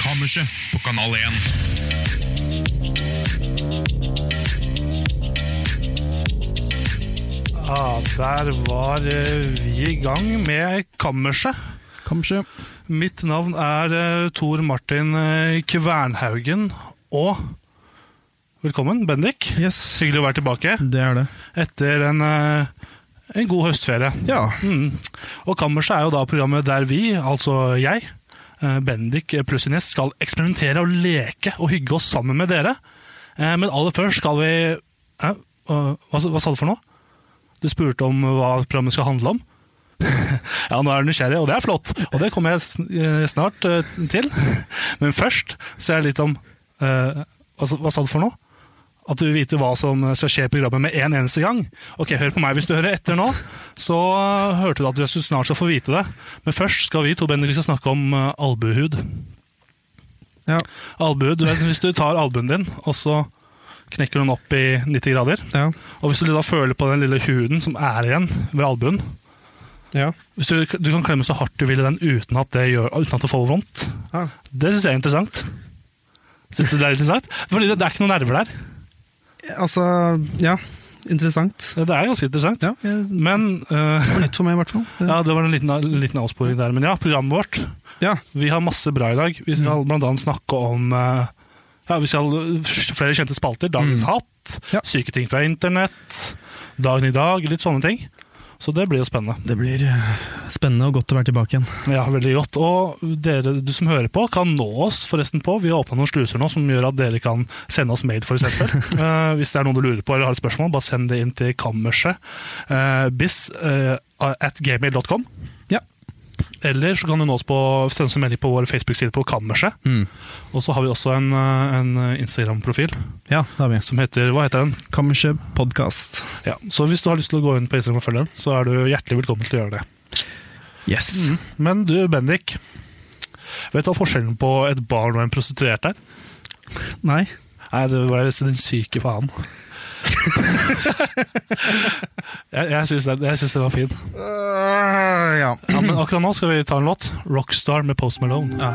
Kammerset på Kanal 1. Ja, der var eh, vi i gang med Kammerset. Kanskje. Mitt navn er eh, Tor Martin eh, Kvernhaugen, og velkommen, Bendik. Yes, Hyggelig å være tilbake det er det. etter en, eh, en god høstferie. Ja. Mm. Og Kammerset er jo da programmet der vi, altså jeg, eh, Bendik pluss Ines, skal eksperimentere og leke og hygge oss sammen med dere. Eh, Men aller først skal vi Hæ? Hva, hva sa du for noe? Du spurte om hva programmet skal handle om. ja, nå er du nysgjerrig, og det er flott. Og det kommer jeg sn- eh, snart eh, til. Men først så er det litt om eh, hva, sa- hva sa du for noe? At du vil vite hva som eh, skal skje i programmet med en eneste gang. Ok, Hør på meg hvis du hører etter nå, så eh, hørte du at du snart skal få vite det. Men først skal vi to Bendik, skal snakke om eh, albuehud. Ja. Albue, du vet, Hvis du tar albuen din, og så knekker du den opp i 90 grader Ja. Og hvis du da føler på den lille huden som er igjen ved albuen ja. hvis du, du kan klemme så hardt du vil i den uten at det, gjør, uten at det får vondt. Ah. Det syns jeg er interessant. Synes du det er interessant? Fordi det, det er ikke noen nerver der. Altså, ja. Interessant. Det er ganske interessant. Ja. Det Men øh, var nytt for meg, i hvert fall. Ja, det var en liten, liten avsporing der. Men ja, programmet vårt. Ja. Vi har masse bra i dag. Vi skal blant annet snakke om øh, ja, vi skal flere kjente spalter. Dagens hatt, Ja. syke ting fra internett, dagen i dag, litt sånne ting. Så det blir jo spennende. Det blir eh, spennende og godt å være tilbake igjen. Ja, veldig godt. Og dere du som hører på, kan nå oss forresten på. Vi har åpna noen sluser nå som gjør at dere kan sende oss mail, f.eks. uh, hvis det er noe du lurer på eller har et spørsmål, bare send det inn til kammerset. eh, bis eh, at gmail.com. Ja. Eller så kan du nå oss på sende oss en melding på vår Facebook-side på Kammerset. Mm. Og så har vi også en, eh, en Instagram-profil Ja, det har vi. som heter Hva heter den? Kammerset podkast. Ja, Så hvis du har lyst til å gå inn på Instagram og følge den, så er du hjertelig velkommen til å gjøre det. Yes. Men du, Bendik. Vet du hva forskjellen på et barn og en prostituert er? Nei. Nei, det var visst den syke faen. jeg jeg syns den, jeg syns den var fin. Eh, ja. Ja, men akkurat nå skal vi ta en låt. 'Rockstar' med Post Malone. ja.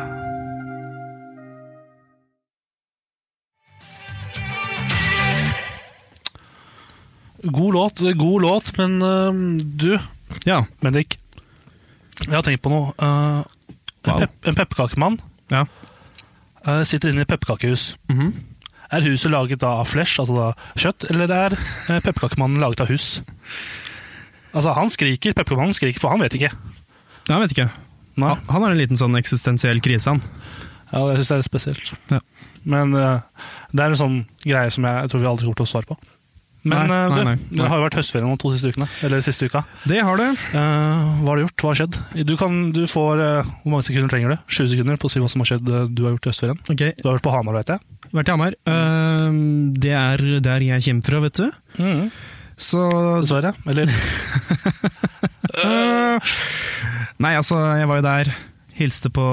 God låt, god låt, men øhm, du, Ja. Bendik. Jeg har tenkt på noe. Øh, en Wow. pep- en pepperkakemann Ja. øh, sitter inne i et pepperkakehus. Mhm. Er huset laget av flesh, altså da kjøtt, eller er eh, pepperkakemannen laget av hus? Altså, han skriker, pepperkakemannen skriker, for han vet ikke. Ja, Jeg vet ikke. Nei. Han han har en liten sånn eksistensiell krise, han. Ja, jeg synes det er litt spesielt. Ja. Men eh, det er en sånn greie som jeg, jeg tror vi aldri kommer til å svare på. Men Nei, eh, nei, du, nei, nei. det har jo vært høstferie nå to siste ukene, eller siste uka. Det har du. Eh, hva har du gjort? Hva har skjedd? Du, kan, du får, eh, hvor mange sekunder trenger du? 20 sekunder på å si hva som har skjedd eh, du har gjort i høstferien. Ok, Du har vært på Hamar, vet jeg. Vært i Hamar. Ehm, det er der jeg kommer fra, vet du. Mm. Så Dessverre. Eller, Eh, Nei, altså, jeg var jo der, hilste på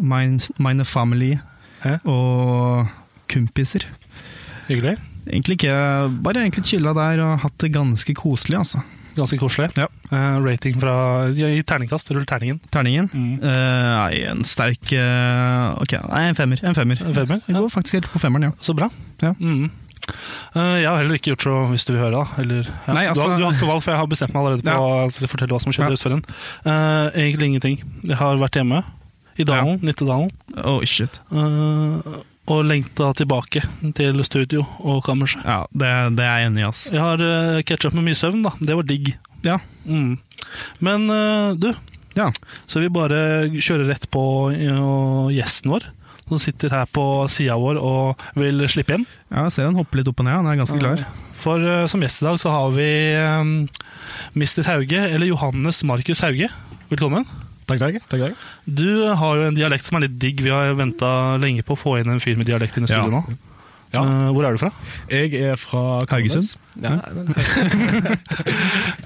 min, mine family Ja. og kumpiser. hyggelig. Egentlig ikke, bare egentlig chilla der og hatt det ganske koselig, altså. Ganske koselig. Ja. Eh, rating fra Gi terningkast. Rull terningen. Terningen? Mm. Eh, nei, en sterk eh, Ok, nei, en femmer. En femmer. En femmer? Jeg Eh, Ja. går faktisk helt på femmeren, ja. Så bra. Ja. Mm. Eh, jeg har heller ikke gjort så, hvis du vil høre. da eller, ja. Nei, altså- du, har, du har ikke valg, for jeg har bestemt meg allerede på å fortelle hva som skjedde Ja. i høstferien. Eh, egentlig ingenting. Jeg har vært hjemme. I dalen, Nittedalen. Oh, shit. eh, og lengta tilbake til studio og kammerset. Ja, det, det er jeg enig i, ass. Jeg har uh, catch up med mye søvn, da. Det var digg. Ja. Mm. Men eh, du, Ja. så vi bare kjører rett på eh, gjesten vår, som sitter her på sida vår og vil slippe inn. ja, jeg ser han hopper litt opp og ned, han er ganske klar. For eh, som gjest i dag så har vi eh, Mr. Hauge, eller Johannes Markus Hauge. Velkommen. Takk, takk. takk, takk. Du har jo en dialekt som er litt digg. Vi har venta lenge på å få inn en fyr med dialekt inn i studio Ja. nå. Ja. Eh, hvor er du fra? Jeg er fra Kalnes. Haugesund? Ja,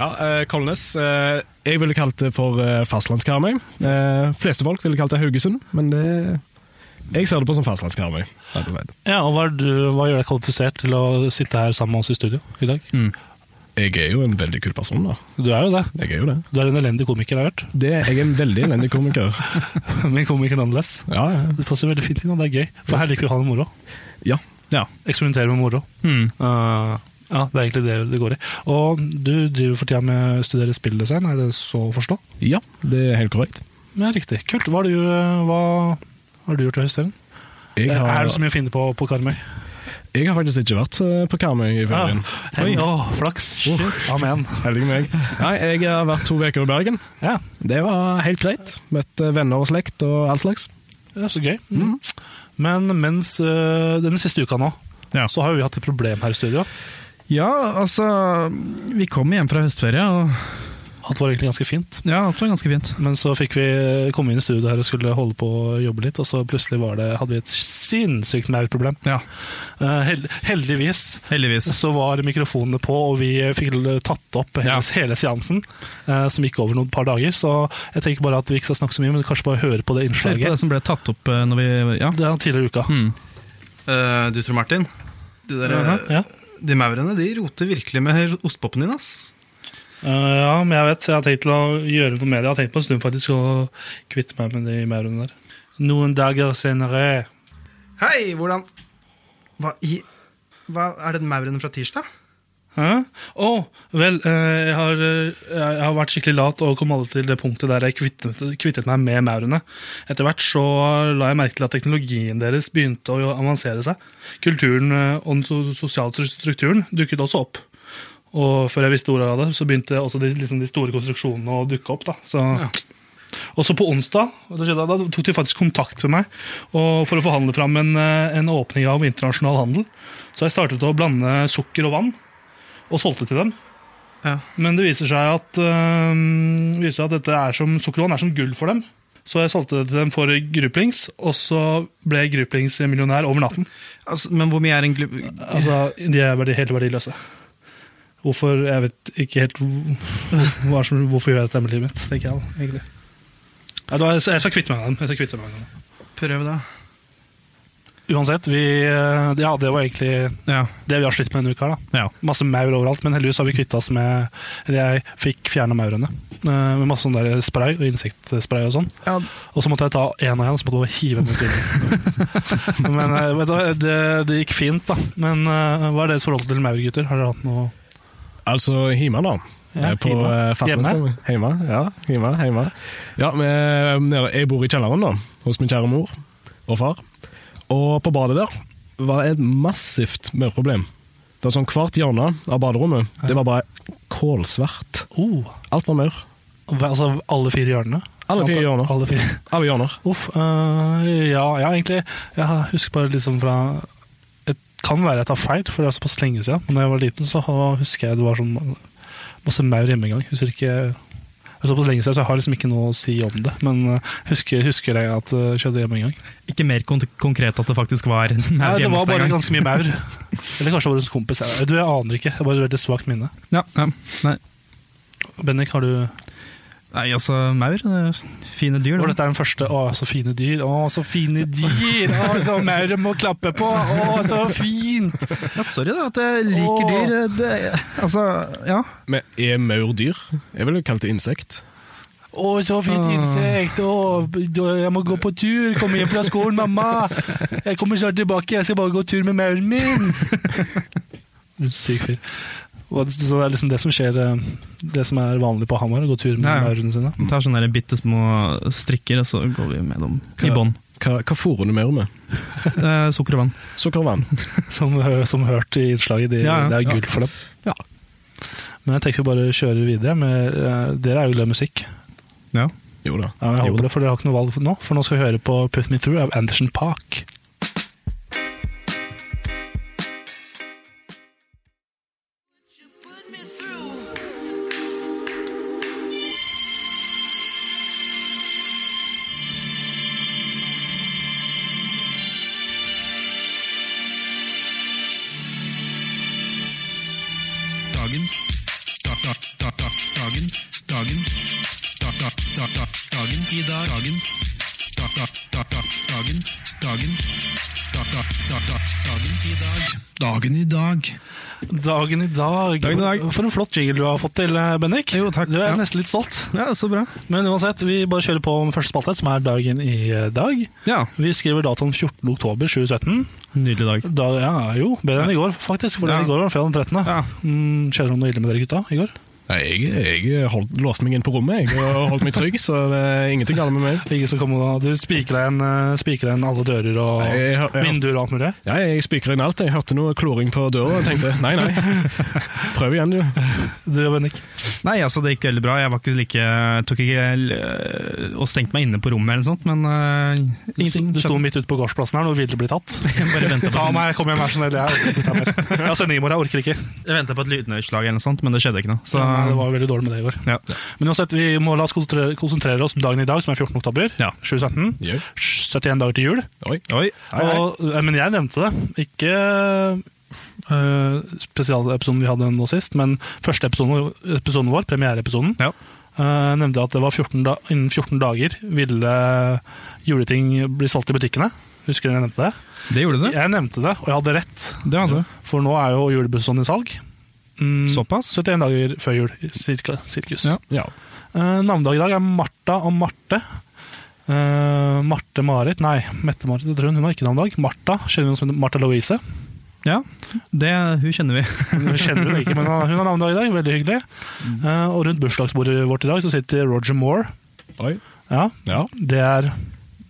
ja eh, Kolnes. eh, Jeg ville kalt det for eh, fastlandskarmøy. Eh, Fleste folk ville kalt det Haugesund, men det jeg ser det på som fastlandskarmøy. rett og slett. Ja, og hva, er du, hva gjør deg kvalifisert til å sitte her sammen med oss i studio i dag? Jeg er jo en veldig kul person, da. Du er jo det. Jeg er jo det. Du er en elendig komiker, har jeg hørt. det jeg er en veldig elendig komiker. Men komiker nonetheless. Ja, ja. Det passer veldig fint inn, og det er gøy. For her liker vi å ha det moro. ja. Hmm. ja. Eksperimentere med moro. Eh, ja, det er egentlig det det går i. Og du driver for tida med å studere spilldesign, er det så å forstå? Ja, det er helt korrekt. Ja, riktig. Kult. Hva har du, eh, hva har du gjort i høstferien? Jeg Er har, det så mye å finne på på Karmøy? jeg har faktisk ikke vært eh, på Karmøy i Ja. ferien. Hei, å, flaks. Amen. Heldig meg. Nei, jeg har vært to uker i Bergen. Ja, Det var helt greit. Møtt eh, venner og slekt og all slags. det er så gøy. Mm. Men mens øh, denne siste uka nå, Ja. så har jo vi hatt et problem her i studio. Ja, altså Vi kom hjem fra høstferie, og Alt var egentlig ganske fint. ja, alt var ganske fint. Men så fikk vi komme inn i studio her og skulle holde på å jobbe litt, og så plutselig var det, hadde vi et sinnssykt maut problem. Ja, Eh, held, heldigvis heldigvis. så var mikrofonene på, og vi fikk tatt opp hele, Ja. hele seansen, eh, som gikk over noen par dager. Så jeg tenker bare at vi ikke skal snakke så mye, men kanskje bare høre på det Hør Mm. på innslaget. det som ble tatt opp eh, når vi Ja. Det er tidligere i uka. Eh, du tror Martin? De, der, Mhm, ja. de maurene de roter virkelig med ostpoppen din, ass. Eh, ja, men jeg vet. Jeg har tenkt til å gjøre noe med det. Jeg har tenkt på en stund faktisk å kvitte meg med de maurene der. Noen dager senere Hei, hvordan Hva i hva, Er det maurene fra tirsdag? Hæ? Å, vel, eh, jeg, har, eh, jeg har vært skikkelig lat og kom aldri til det punktet der jeg kvittet, kvittet meg med maurene. Etter hvert så la jeg merke til at teknologien deres begynte å avansere seg. Kulturen eh, og den so- sosiale strukturen dukket også opp. Og før jeg visste ordet av det, så begynte også de, liksom de store konstruksjonene å dukke opp. da. Så... Og så på onsdag og det skjedde, da tok de faktisk kontakt med meg og for å forhandle fram en, eh, en åpning av internasjonal handel. Så jeg startet å blande sukker og vann, og solgte til dem. Ja. Men det viser seg at, eh, viser seg at dette er som, sukker og vann er som gull for dem. Så jeg solgte det til dem for gruplings, og så ble gruplings millionær over natten. Altså, men hvor mye er en glu... Altså, De er verdi, helt verdiløse. Hvorfor Jeg vet ikke helt hvor- hva som, hvorfor gjør jeg dette med livet mitt, tenker jeg da, egentlig. Nei, da, jeg skal jeg skal kvitte meg med dem. Jeg skal kvitte meg med dem. Prøv, da. Uansett, vi, eh, ja, det var egentlig Ja. det vi har slitt med denne uka. her, da. Ja. Masse maur overalt, men heldigvis har vi kvitta oss med Eller jeg fikk fjerna maurene. eh, Med masse sånn der spray og insektspray og sånn. Ja. Og så måtte jeg ta én og én, så måtte jeg bare hive dem ut vinduet. men eh, vet du, hva, det, det gikk fint, da. Men eh, hva er deres forhold til maur, gutter? Har dere hatt noe Altså hjemme, da. Ja, Eh, på hjemme. eh, fastlandskarmøy. Hjemme. Ja, hjemme, hjemme. Ja, vi- eh, nede, jeg bor i kjelleren da, hos min kjære mor og far. Og på badet der var det et massivt mørproblem. Det var sånn Hvert hjørne av baderommet Det var bare kålsvart. Oh, Alt var maur. hva- altså alle fire hjørnene? Alle fire hjørner. Alle fire. Alle hjørner. Uff. øh, ja, ja, egentlig. Jeg husker bare liksom fra Det kan være jeg tar feil, for det er såpass lenge siden. Men da jeg var liten, så ha- husker jeg det var sånn masse maur hjemme en gang. Husker ikke det er såpass lenge siden, så jeg har liksom ikke noe å si om det. Men øh, husker, husker jeg at det skjedde hjemme en gang. Ikke mer kon konkret at det faktisk var en Nei, maur det hjemme var hos deg bare en gang. ganske mye maur. Eller kanskje det var hos en kompis. Jeg, du, jeg aner ikke. Det var et veldig svakt minne. Ja, ja. Nei. Bennik, har du Nei, altså, maur det er Fine dyr. Og da. dette er den første Å, så fine dyr. Å, så fine dyr! Å, så maur må klappe på! Å, så fint! Ja, sorry, da, at jeg liker Åh. dyr. eh, Det, altså, ja. Men er maur dyr? Jeg ville kalt det insekt. Å, så fint insekt! Å, jeg må gå på tur! Komme hjem fra skolen, mamma! Jeg kommer snart tilbake, jeg skal bare gå tur med mauren min! Du er Syk fyr. Og det- Så det er liksom det som skjer eh, Det som er vanlig på Hamar, å gå tur med Ja, ja. maurene sine. Tar sånne der bitte små strikker, og så går vi med dem i bånd. Hva, hva fôrer du maur med? Eh, sukker og vann. Sukker og vann. Som, hø- som hørt i innslaget, de, Ja, ja. det er gull for dem. Ja. Men jeg tenker vi bare kjører videre. Med, eh, dere er jo glad i musikk. Ja. Jo da. Ja, jeg Jo håper det, for dere har ikke noe valg nå. For nå skal vi høre på Put Me Through av Anderson Park. Dagen i dag. Dagen. Da, da, da, da, dagen. Dagen. Da, da, da, da, dagen i dag. Dagen i dag. Dagen i dag. Dagen i dag. For en flott jingle du har fått til, eh, Bendik. Jo, takk. Du er Ja. nesten litt stolt. Ja, så bra. Men uansett, vi bare kjører på med første spalte, som er dagen i eh, dag. Ja, Vi skriver datoen 14. oktober 2017. Nydelig dag. Da, ja, jo, bedre enn i går, faktisk. For Ja. i går var det fredag den 13. Ja. Mm, skjedde det noe ille med dere gutta i går? Nei, jeg, jeg holdt, låste meg inn på rommet jeg, og holdt meg trygg, så det er ingenting galt med meg. Ingen som kom og Du spikra igjen, eh, spikra igjen alle dører og Nei, jeg har- jeg har- vinduer og alt mulig? Ja, jeg spikrer inn alt. Jeg hørte noe kloring på døra og tenkte nei, nei. Prøv igjen, du. Du og Bendik? Nei, altså det gikk veldig bra. Jeg var ikke like, tok ikke øh, og stengte meg inne på rommet eller noe sånt, men øh, ingenting. Du sto midt ute på gårdsplassen her og ville bli tatt. Ta meg, kom igjen, vær så snill. Jeg orker ikke mer. Jeg har sending i morgen, jeg orker ikke. Jeg venta på et lydnedslag eller noe sånt, men det skjedde ikke noe. Så, Nei, det var veldig dårlig med det i går. ja. Men uansett, vi må la oss konsentrere, konsentrere oss om dagen i dag, som er 14. oktober Ja. 2017. Jo. 71 dager til jul. Oi. Oi. Og, eh, men jeg nevnte det. Ikke eh, spesialepisoden vi hadde nå sist, men første episoden, episoden vår, premiereepisoden, Ja. eh, nevnte at det var 14 da, innen 14 dager ville juleting bli solgt i butikkene. Husker du jeg nevnte det? Det gjorde du. Jeg nevnte det, og jeg hadde rett. Det hadde du. For nå er jo julebussen i salg. Mm, Såpass. 71 dager før jul, cirka, sirkus. Ja. Ja. Eh, navnedag i dag er Martha og Marte. Eh, Marte Marit, nei, Mette-Marit, det tror hun, hun har ikke navnedag. Martha, kjenner hun som heter Martha Louise. Ja, det, hun kjenner vi. Hun kjenner hun ikke, men hun har navnedag i dag, veldig hyggelig. Eh, og rundt bursdagsbordet vårt i dag så sitter Roger Moore. Oi. Ja, Ja. det er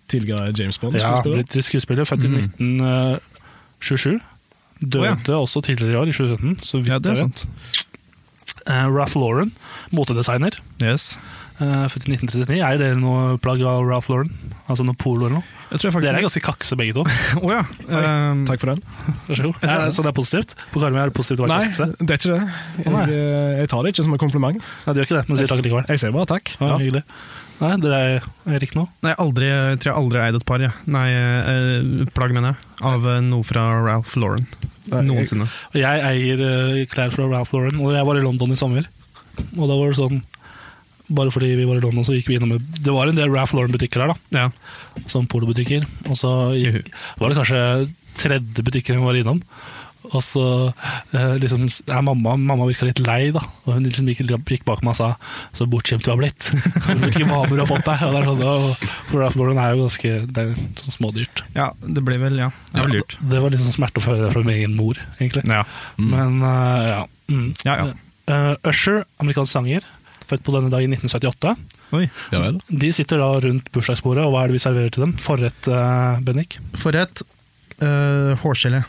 Tidligere James Bond. ja, skuespiller. britisk skuespiller, født i 1927. Døde Mm. Å, også tidligere i år, i 2017, så vidt Ja, det jeg er vet. sant. Eh, Ralph Lauren, motedesigner, Yes. eh, født i 1939. Er dere noe plagg av Ralph Lauren? Altså noe polo eller noe? Jeg tror jeg faktisk Dere er ganske kakse begge to. Å ja. ehm, Takk for den. Vær så god. Ja, så det er positivt? For Karmøy er det positivt å være Nei, kakse? det er ikke det. Å, nei. Jeg, eh, jeg tar det ikke som en kompliment. Nei, det gjør ikke det, men sier takk likevel. Jeg sier bare takk. Ja, Ja. Hyggelig. Nei, dere er, er ikke noe? Nei, jeg aldri, jeg tror jeg aldri har eid et par. Ja. Nei, eh, plagg, mener jeg. Av eh, noe fra Ralph Lauren. Noensinne. Og Jeg eier eh, klær fra Ralph Lauren, og jeg var i London i sommer. Og da var det sånn Bare fordi vi var i London, så gikk vi innom Det var en del Ralph Lauren-butikker der, da. Ja. Som sånn polobutikker. Og så gikk, Mm. var det kanskje tredje butikken vi var innom. Og så eh, liksom, ja, mamma, mamma virka litt lei, da. Og hun liksom gikk, gikk bak meg og sa 'så bortskjemt du har blitt'. Hvilke vaner du har fått deg. Og det er sånn, og, for Ralph Lauren er jo ganske det er sånn smådyrt. ja, det ble vel Ja, det var lurt. Det var litt sånn smerte å få høre det fra min egen mor, egentlig. Ja. Mm. Men eh, ja. Mm. Ja, ja. Eh, Usher, amerikansk sanger, født på denne dag i 1978. Oi. Ja vel. De sitter da rundt bursdagsbordet, og hva er det vi serverer til dem? Forrett, uh, Bennik? Forrett uh, hårgelé.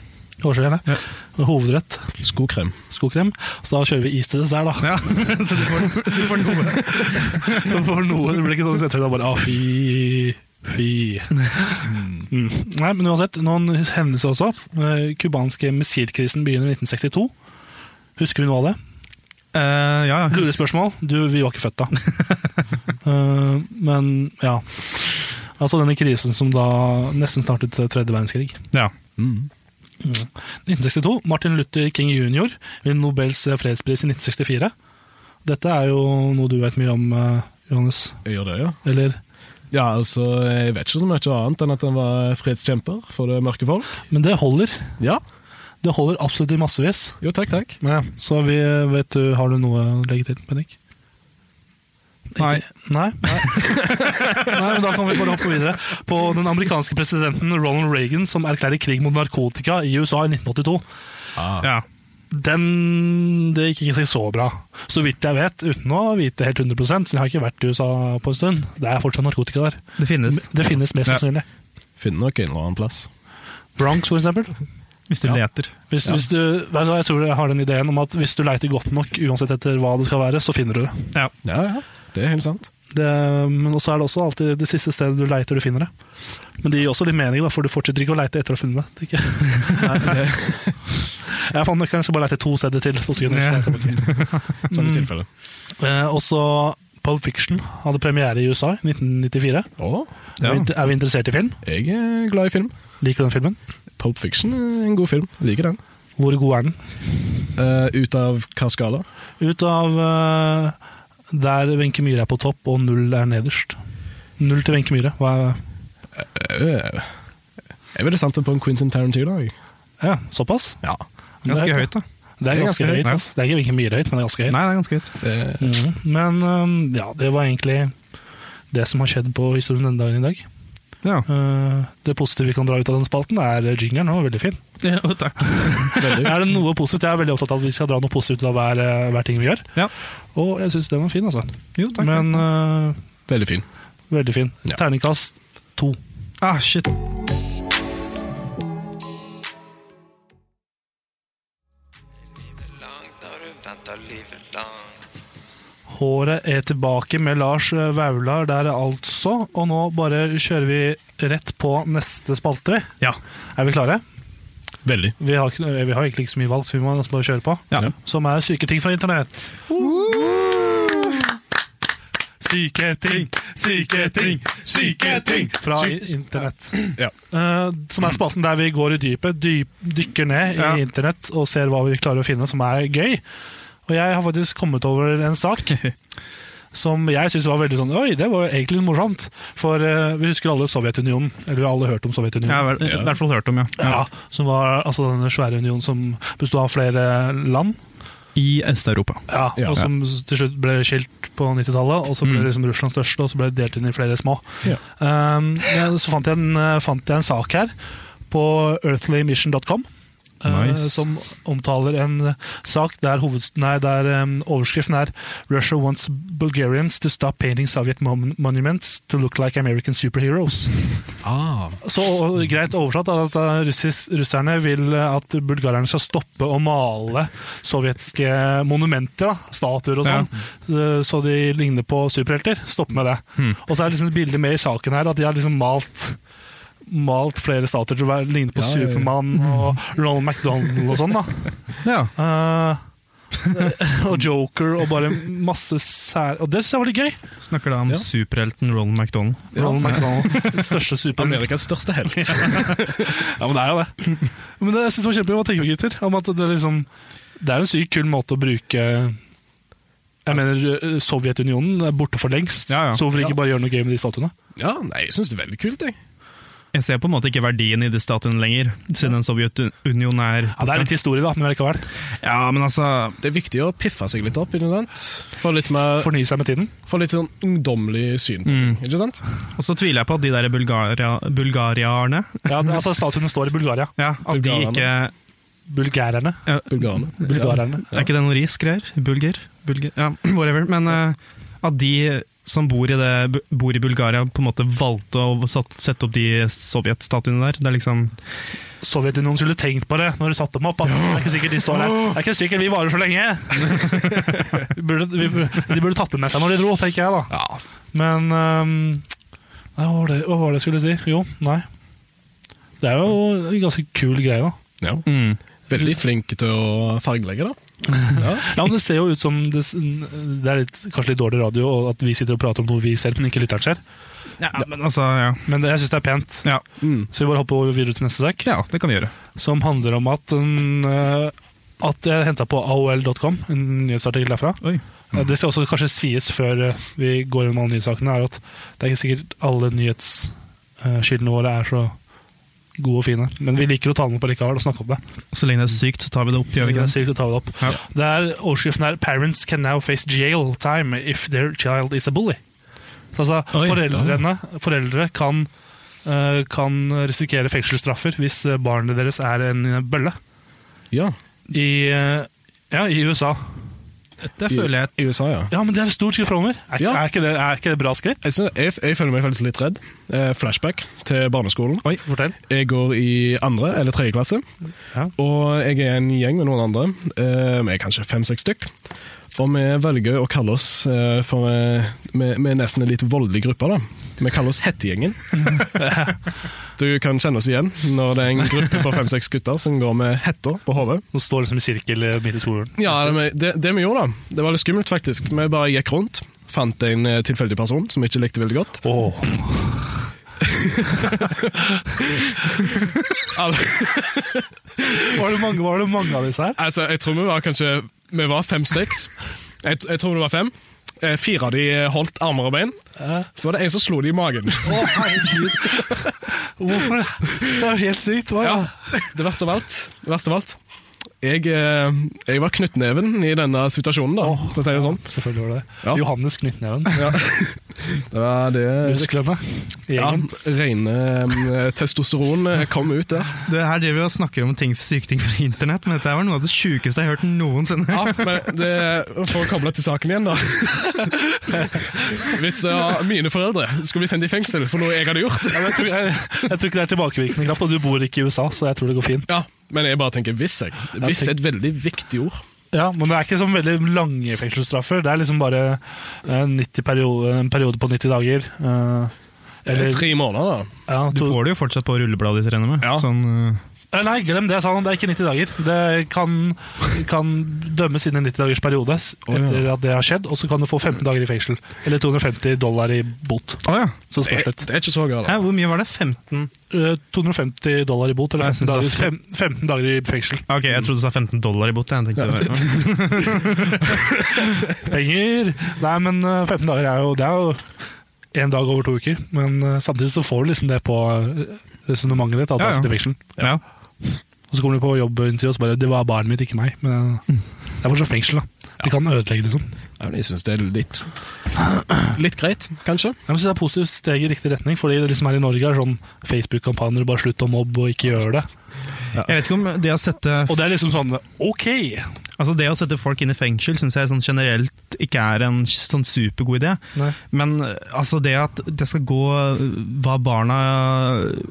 Hårgelé? Ja. Hovedrett? Skokrem. Skokrem? Så da kjører vi is til dessert, Ja, da. så du får, du får noe. For noe, det blir ikke sånn at det er bare ah, fy, fy. Mm. Nei, men uansett, noen hendelser også. Eh, Kubanske missilkrisen begynner i 1962. Husker vi noe av det? Eh, ja, ja. Lurespørsmål. Du, vi var ikke født da. Eh, men ja. Altså denne krisen som da nesten startet tredje verdenskrig. ja. Mm. 1962. Martin Luther King jr. vinner Nobels fredspris i 1964. Dette er jo noe du vet mye om, eh, Johannes. Jeg gjør det, ja. Eller, Ja, altså, Jeg vet ikke så mye annet enn at han var fredskjemper for det mørke folk. men det holder. Ja. Det holder absolutt i massevis. Jo, takk, takk. Så vi vet du, har du noe å legge til, Bennik? Nei. Ikke- Nei? Nei. Nei, men Da kan vi bare hoppe videre på den amerikanske presidenten Ronald Reagan som erklærer krig mot narkotika i USA i 1982. ja. Den, det gikk ikke så bra. Så vidt jeg vet, uten å vite helt 100 så jeg har ikke vært i USA på en stund. Det er fortsatt narkotika der. Det finnes. Det finnes mest Ja. sannsynlig. Finner nok en eller annen plass. Bronx, for eksempel. Hvis du leter. Hvis, hvis du, vet du hva, jeg tror jeg har den ideen om at hvis du leiter godt nok, uansett etter hva det skal være, så finner du det. Ja. Ja, ja. Det er helt sant. Det, men også er det også alltid det siste stedet du leiter, du finner det. Men det gir også litt mening, da, for du fortsetter ikke å leite etter å ha funnet det. tenker Jeg Jeg fant nøkkelen, så bare leite to steder til. Så skulle jeg Ja. leite tilbake. Sånne tilfeller. eh, også Pulp Fiction hadde premiere i USA i 1994. Å, Er, vi, er vi interessert i film? jeg er glad i film. Liker du den filmen? Pulp Fiction er en god film. Jeg Liker den. Hvor god er den? Eh, ut av hva skala? Ut av eh, der Wenche Myhre er på topp og null er nederst. Null til Wenche Myhre. Hva er Øh, Jeg ville sendt det på en Quentin Tarantino. jeg. ja, Såpass? Ja. Det Ganske er- høyt, da. Det er ganske høyt. ja. ass. Det er ikke Wenche Myhre høyt, men det er ganske høyt. Nei, det er ganske høyt. Det- Mhm. Men øhm, ja, det var egentlig det som har skjedd på historien denne dagen i dag. Ja. Eh, det positive vi kan dra ut av den spalten, er jingeren. Den var veldig fin. Ja, og takk. Er det noe positivt? Jeg er veldig opptatt av at vi skal dra noe positivt ut av hver, eh, hver ting vi gjør. Ja. Og jeg syns den var fin, altså. Jo, takk. Men takk. eh, Veldig fin. veldig fin. Ja. Terningkast to. Ah, shit. langt når du venter livet langt. Håret er tilbake med Lars eh, Vaular der altså, og nå bare kjører vi rett på neste spalte. vi. Ja. Er vi klare? Veldig. Vi har, ikke- eh, vi har egentlig ikke så mye valg, så vi må nesten bare kjøre på. Ja. Som er syke ting fra internett. Syke ting, syke ting, syke ting fra i- internett. Ja. Eh, som er spalten der vi går i dypet, dyp, dykker ned i internett og ser hva vi klarer å finne som er gøy. Og jeg har faktisk kommet over en sak som jeg syns var veldig sånn Oi, det var jo egentlig morsomt. For eh, vi husker alle Sovjetunionen. Eller vi har alle hørt om Sovjetunionen. Jeg har i hvert fall hørt om, ja. Ja, som var altså denne svære unionen som bestod av flere land, I Øst-Europa. ja, Ja. og som til slutt ble skilt på 90-tallet, og så ble Mm. liksom Russland størst, og så ble det delt inn i flere små. Ja. Um, ja, så fant jeg, en, eh, fant jeg en sak her på earthlymission.com, eh, Nice. som omtaler en eh, sak der, hoveds- nei, der em, overskriften er «Russia wants Bulgarians to stop painting Soviet mon- monuments to look like American superheroes». Ah. Så greit oversatt er at eh, russis, russerne vil eh, at bulgarerne skal stoppe å male sovjetiske monumenter, da, statuer og sånn, eh, så de ligner på superhelter. Stopp med det. Hmm. Og så er det liksom et bilde med i saken her at de har liksom malt Malt flere statuer til å være- ligne på Ja, ja, ja. Supermann og Ronald McDonald og sånn. da Ja. Eh, Og Joker og bare masse sær... Og det syns jeg var litt gøy! Snakker da om Ja. superhelten Roland McDonald. Ronald McDonald, den største superhelten. Amerikas største helt. Ja, men det er jo det. Men det, jeg synes det var kjempegøy. Hva tenker du, gutter? Om at det, er liksom, det er jo en sykt kul måte å bruke Jeg mener, eh, Sovjetunionen er borte for lengst. Ja, ja. Så hvorfor ikke bare gjøre noe gøy med de statuene? ja, nei, jeg syns det er veldig kult, jeg. Jeg ser på en måte ikke verdien i de statuene lenger, siden Sovjetunionen er Ja, Det er litt historie, da, men likevel. Ja, men altså Det er viktig å piffe seg litt opp, ikke sant? Få litt, mer, Fornye seg med tiden. få litt sånn ungdommelig syn på ting, ikke sant? Og så tviler jeg på at de der bulgaria, bulgarierne Ja, det, altså Statuene står i Bulgaria. ja, At de Bulgarerne. ikke Bulgærerne. Bulgarene. Bulgarerne. Er ikke det noe ris greier? Bulger? Bulger? Ja, whatever. Men eh, at de som bor i, det, bor i Bulgaria, på en måte valgte å satt, sette opp de sovjetstatuene der. Det er liksom Sovjetunionen skulle tenkt på det når de satte dem opp. da. Det er ikke sikkert de står der. Det er ikke sikkert vi varer så lenge! Vi burde, vi, burde- de burde tatt dem med seg når de dro, tenker jeg da. Ja. Men ehm, nei, hva, var det, hva var det jeg skulle si? Jo, nei. Det er jo en ganske kul greie, da. ja. mm. Veldig flink til å fargelegge, da. Ja. Ja, men Det ser jo ut som det, s- det er litt, kanskje litt dårlig radio og at vi sitter og prater om noe vi ser, men ikke lytteren ser. Ja, men altså ja. Men det, jeg syns det er pent. Ja. Mm. Så vi bare hopper over videre til neste sak, ja, det kan vi gjøre. som handler om at en, eh, at jeg henta på aol.com, en nyhetsartikkel derfra. Oi. Eh, Det skal også kanskje sies før eh, vi går gjennom alle nyhetssakene, er at det er ikke sikkert alle nyhetskildene våre er så gode og fine. Men vi liker å ta dem opp likevel og snakke om det. Så lenge det er sykt, så tar vi det opp. Så Gjør vi det ikke er det? sykt å ta det opp. Ja. Det er overskriften her 'Parents can now face jail time if their child is a bully'. Så altså, Oi. foreldrene, foreldre kan, eh, kan risikere fengselsstraffer hvis eh, barnet deres er en eh, bølle. ja. I, eh, ja, i USA. Dette føler jeg I USA, ja. Ja, men det er et stort skritt framover. Er, Ja. er, ikke det- er ikke det bra skritt? Jeg, synes, jeg, jeg føler meg faktisk litt redd. Eh, flashback til barneskolen. Oi, fortell. Jeg går i andre eller tredje klasse, Ja. og jeg er en gjeng med noen andre. Eh, vi er kanskje fem-seks stykk. Og vi velger å kalle oss eh, for eh, Vi vi er nesten en litt voldelig gruppe, da. Vi kaller oss Hettegjengen. du kan kjenne oss igjen når det er en gruppe på fem-seks gutter som går med hetta på hodet. Nå står liksom i sirkel eh, midt i skolen. Ja, det, det, det vi gjorde, da. Det var litt skummelt, faktisk. Vi bare gikk rundt. Fant en eh, tilfeldig person som vi ikke likte veldig godt. Åh, Alle, Var, det mange, var det mange av disse her? Altså, jeg tror vi var kanskje Vi var fem-seks. Jeg, jeg tror det var fem. Eh, Fire av de holdt armer og bein. Så var det en som slo de i magen. Hvorfor? Det er jo helt sykt. Hva? Ja, det verste av alt. Det verste av alt. Jeg, eh, jeg var knyttneven i denne situasjonen, da, for å si det sånn. Selvfølgelig var det det. Ja. Johannes Knyttneven. Det var det Musklene. ja, Gjengen. rene eh, testosteron eh, kom ut der. Det her driver vi og snakker om ting, syke ting fra internett, men dette her var noe av det sjukeste jeg har hørt noensinne. Ja, men det, For å koble til saken igjen, da. Hvis eh, mine foreldre skulle bli sendt i fengsel for noe jeg hadde gjort Jeg tror, jeg, jeg tror ikke det er tilbakevirkende kraft, og du bor ikke i USA, så jeg tror det går fint. Ja, Men jeg bare tenker 'hvis'. jeg. 'Hvis' er et veldig viktig ord. Ja, Men det er ikke sånn veldig lange fengselsstraffer. Det er liksom bare eh, 90 periode, en periode på 90 dager. eh, Eller eller tre måneder, da. ja, Du to, får det jo fortsatt på rullebladet ditt, regner jeg med. Ja. Sånn, øh, Eh, Nei, glem det, sa han. Det er ikke 90 dager. Det kan, kan dømmes innen en 90 dagers periode s- etter at det har skjedd, og så kan du få 15 dager i fengsel. Eller 250 dollar i bot. Å ja. Så Det, spørs litt. det er ikke så galt. Hæ, hvor mye var det? 15? Eh, 250 dollar i bot, eller Jeg 15 synes dager, det er fem, 15 dager i fengsel. Ok, jeg trodde du sa 15 dollar i bot. Jeg tenkte det var- Penger! Nei, men eh, 15 dager er jo Det er jo én dag over to uker. Men eh, samtidig så får du liksom det på resonnementet ditt. Ja, At det ja. er sitt i fengsel. Ja. Og så kommer du på jobbintervju og så bare Det var barnet mitt, ikke meg. Men Mm. eh, det er fortsatt fengsel, da. De kan ødelegge, liksom. Ja, men jeg syns det er litt Litt greit, kanskje. Jeg synes Det er et positivt steg i riktig retning, fordi det liksom her i Norge er sånn Facebook-kampanjer bare slutt å mobbe og ikke gjør det. Jeg vet ikke om det å sette Og det er liksom sånn OK! Altså det å sette folk inn i fengsel syns jeg sånn generelt ikke er en sånn supergod idé. Nei. Men øh, altså det at det skal gå øh, hva barna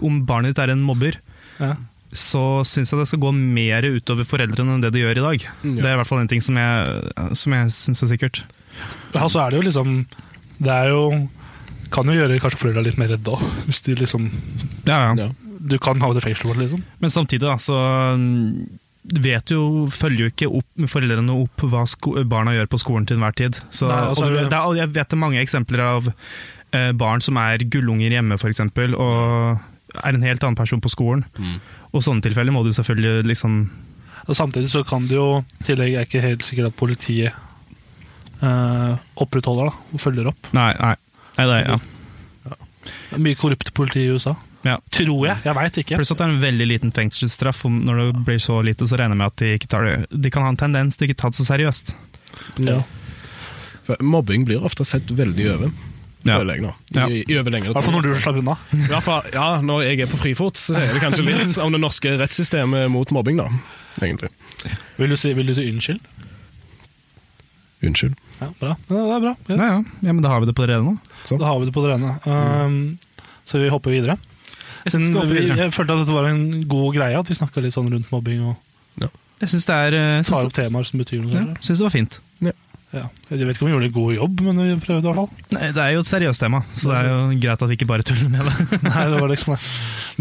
Om barnet ditt er en mobber, Ja. så syns jeg det skal gå mer utover foreldrene enn det det gjør i dag. Mm, ja. Det er i hvert fall en ting som jeg, som jeg syns er sikkert. Ja, så er det jo liksom Det er jo Kan jo gjøre kanskje foreldra litt mer redde òg, hvis de liksom Ja, ja. Ja. Du kan havne i fengsel for det, liksom. Men samtidig da, så mm, vet jo, følger jo ikke opp, foreldrene opp hva sko barna gjør på skolen til enhver tid. Så, Nei, og så er og det- det, er- jeg vet det er mange eksempler av eh, barn som er gullunger hjemme for eksempel, og er en helt annen person på skolen. Og i sånne tilfeller må du selvfølgelig liksom Og samtidig så kan det jo I tillegg er jeg ikke helt sikkert at politiet eh, opprettholder da, og følger opp. Nei, nei. nei det er, ja. Det er mye korrupt politi i USA. Ja. Tror jeg. Jeg veit ikke. Pluss at det er en veldig liten fengselsstraff. og Når det blir så lite, så regner jeg med at de ikke tar det De kan ha en tendens til ikke ta det så seriøst. Ja. For mobbing blir ofte sett veldig over. Ja. Føler jeg nå. I, Ja. i over lengre I hvert fall tid. når du slapper unna. I hvert fall, ja, når jeg er på frifot, så sier det kanskje litt om det norske rettssystemet mot mobbing, da. Egentlig. Vil du si, vil du si unnskyld? Unnskyld. Ja, bra. Ja, det er bra. Greit. Ja, ja. ja, men da har vi det på det rene nå. Da har vi det på det rene. Um, Så vi hopper videre. synes vi Siden skal hoppe vi, videre. jeg følte at dette var en god greie, at vi snakka litt sånn rundt mobbing og Jeg syns det er eh, tar opp temaer som betyr noe. Ja, kanskje. syns det var fint. Ja. Jeg vet ikke om vi gjorde en god jobb, men vi prøvde i hvert fall. Nei, det er jo et seriøst tema, så det er jo greit at vi ikke bare tuller med det. Nei, det var liksom det.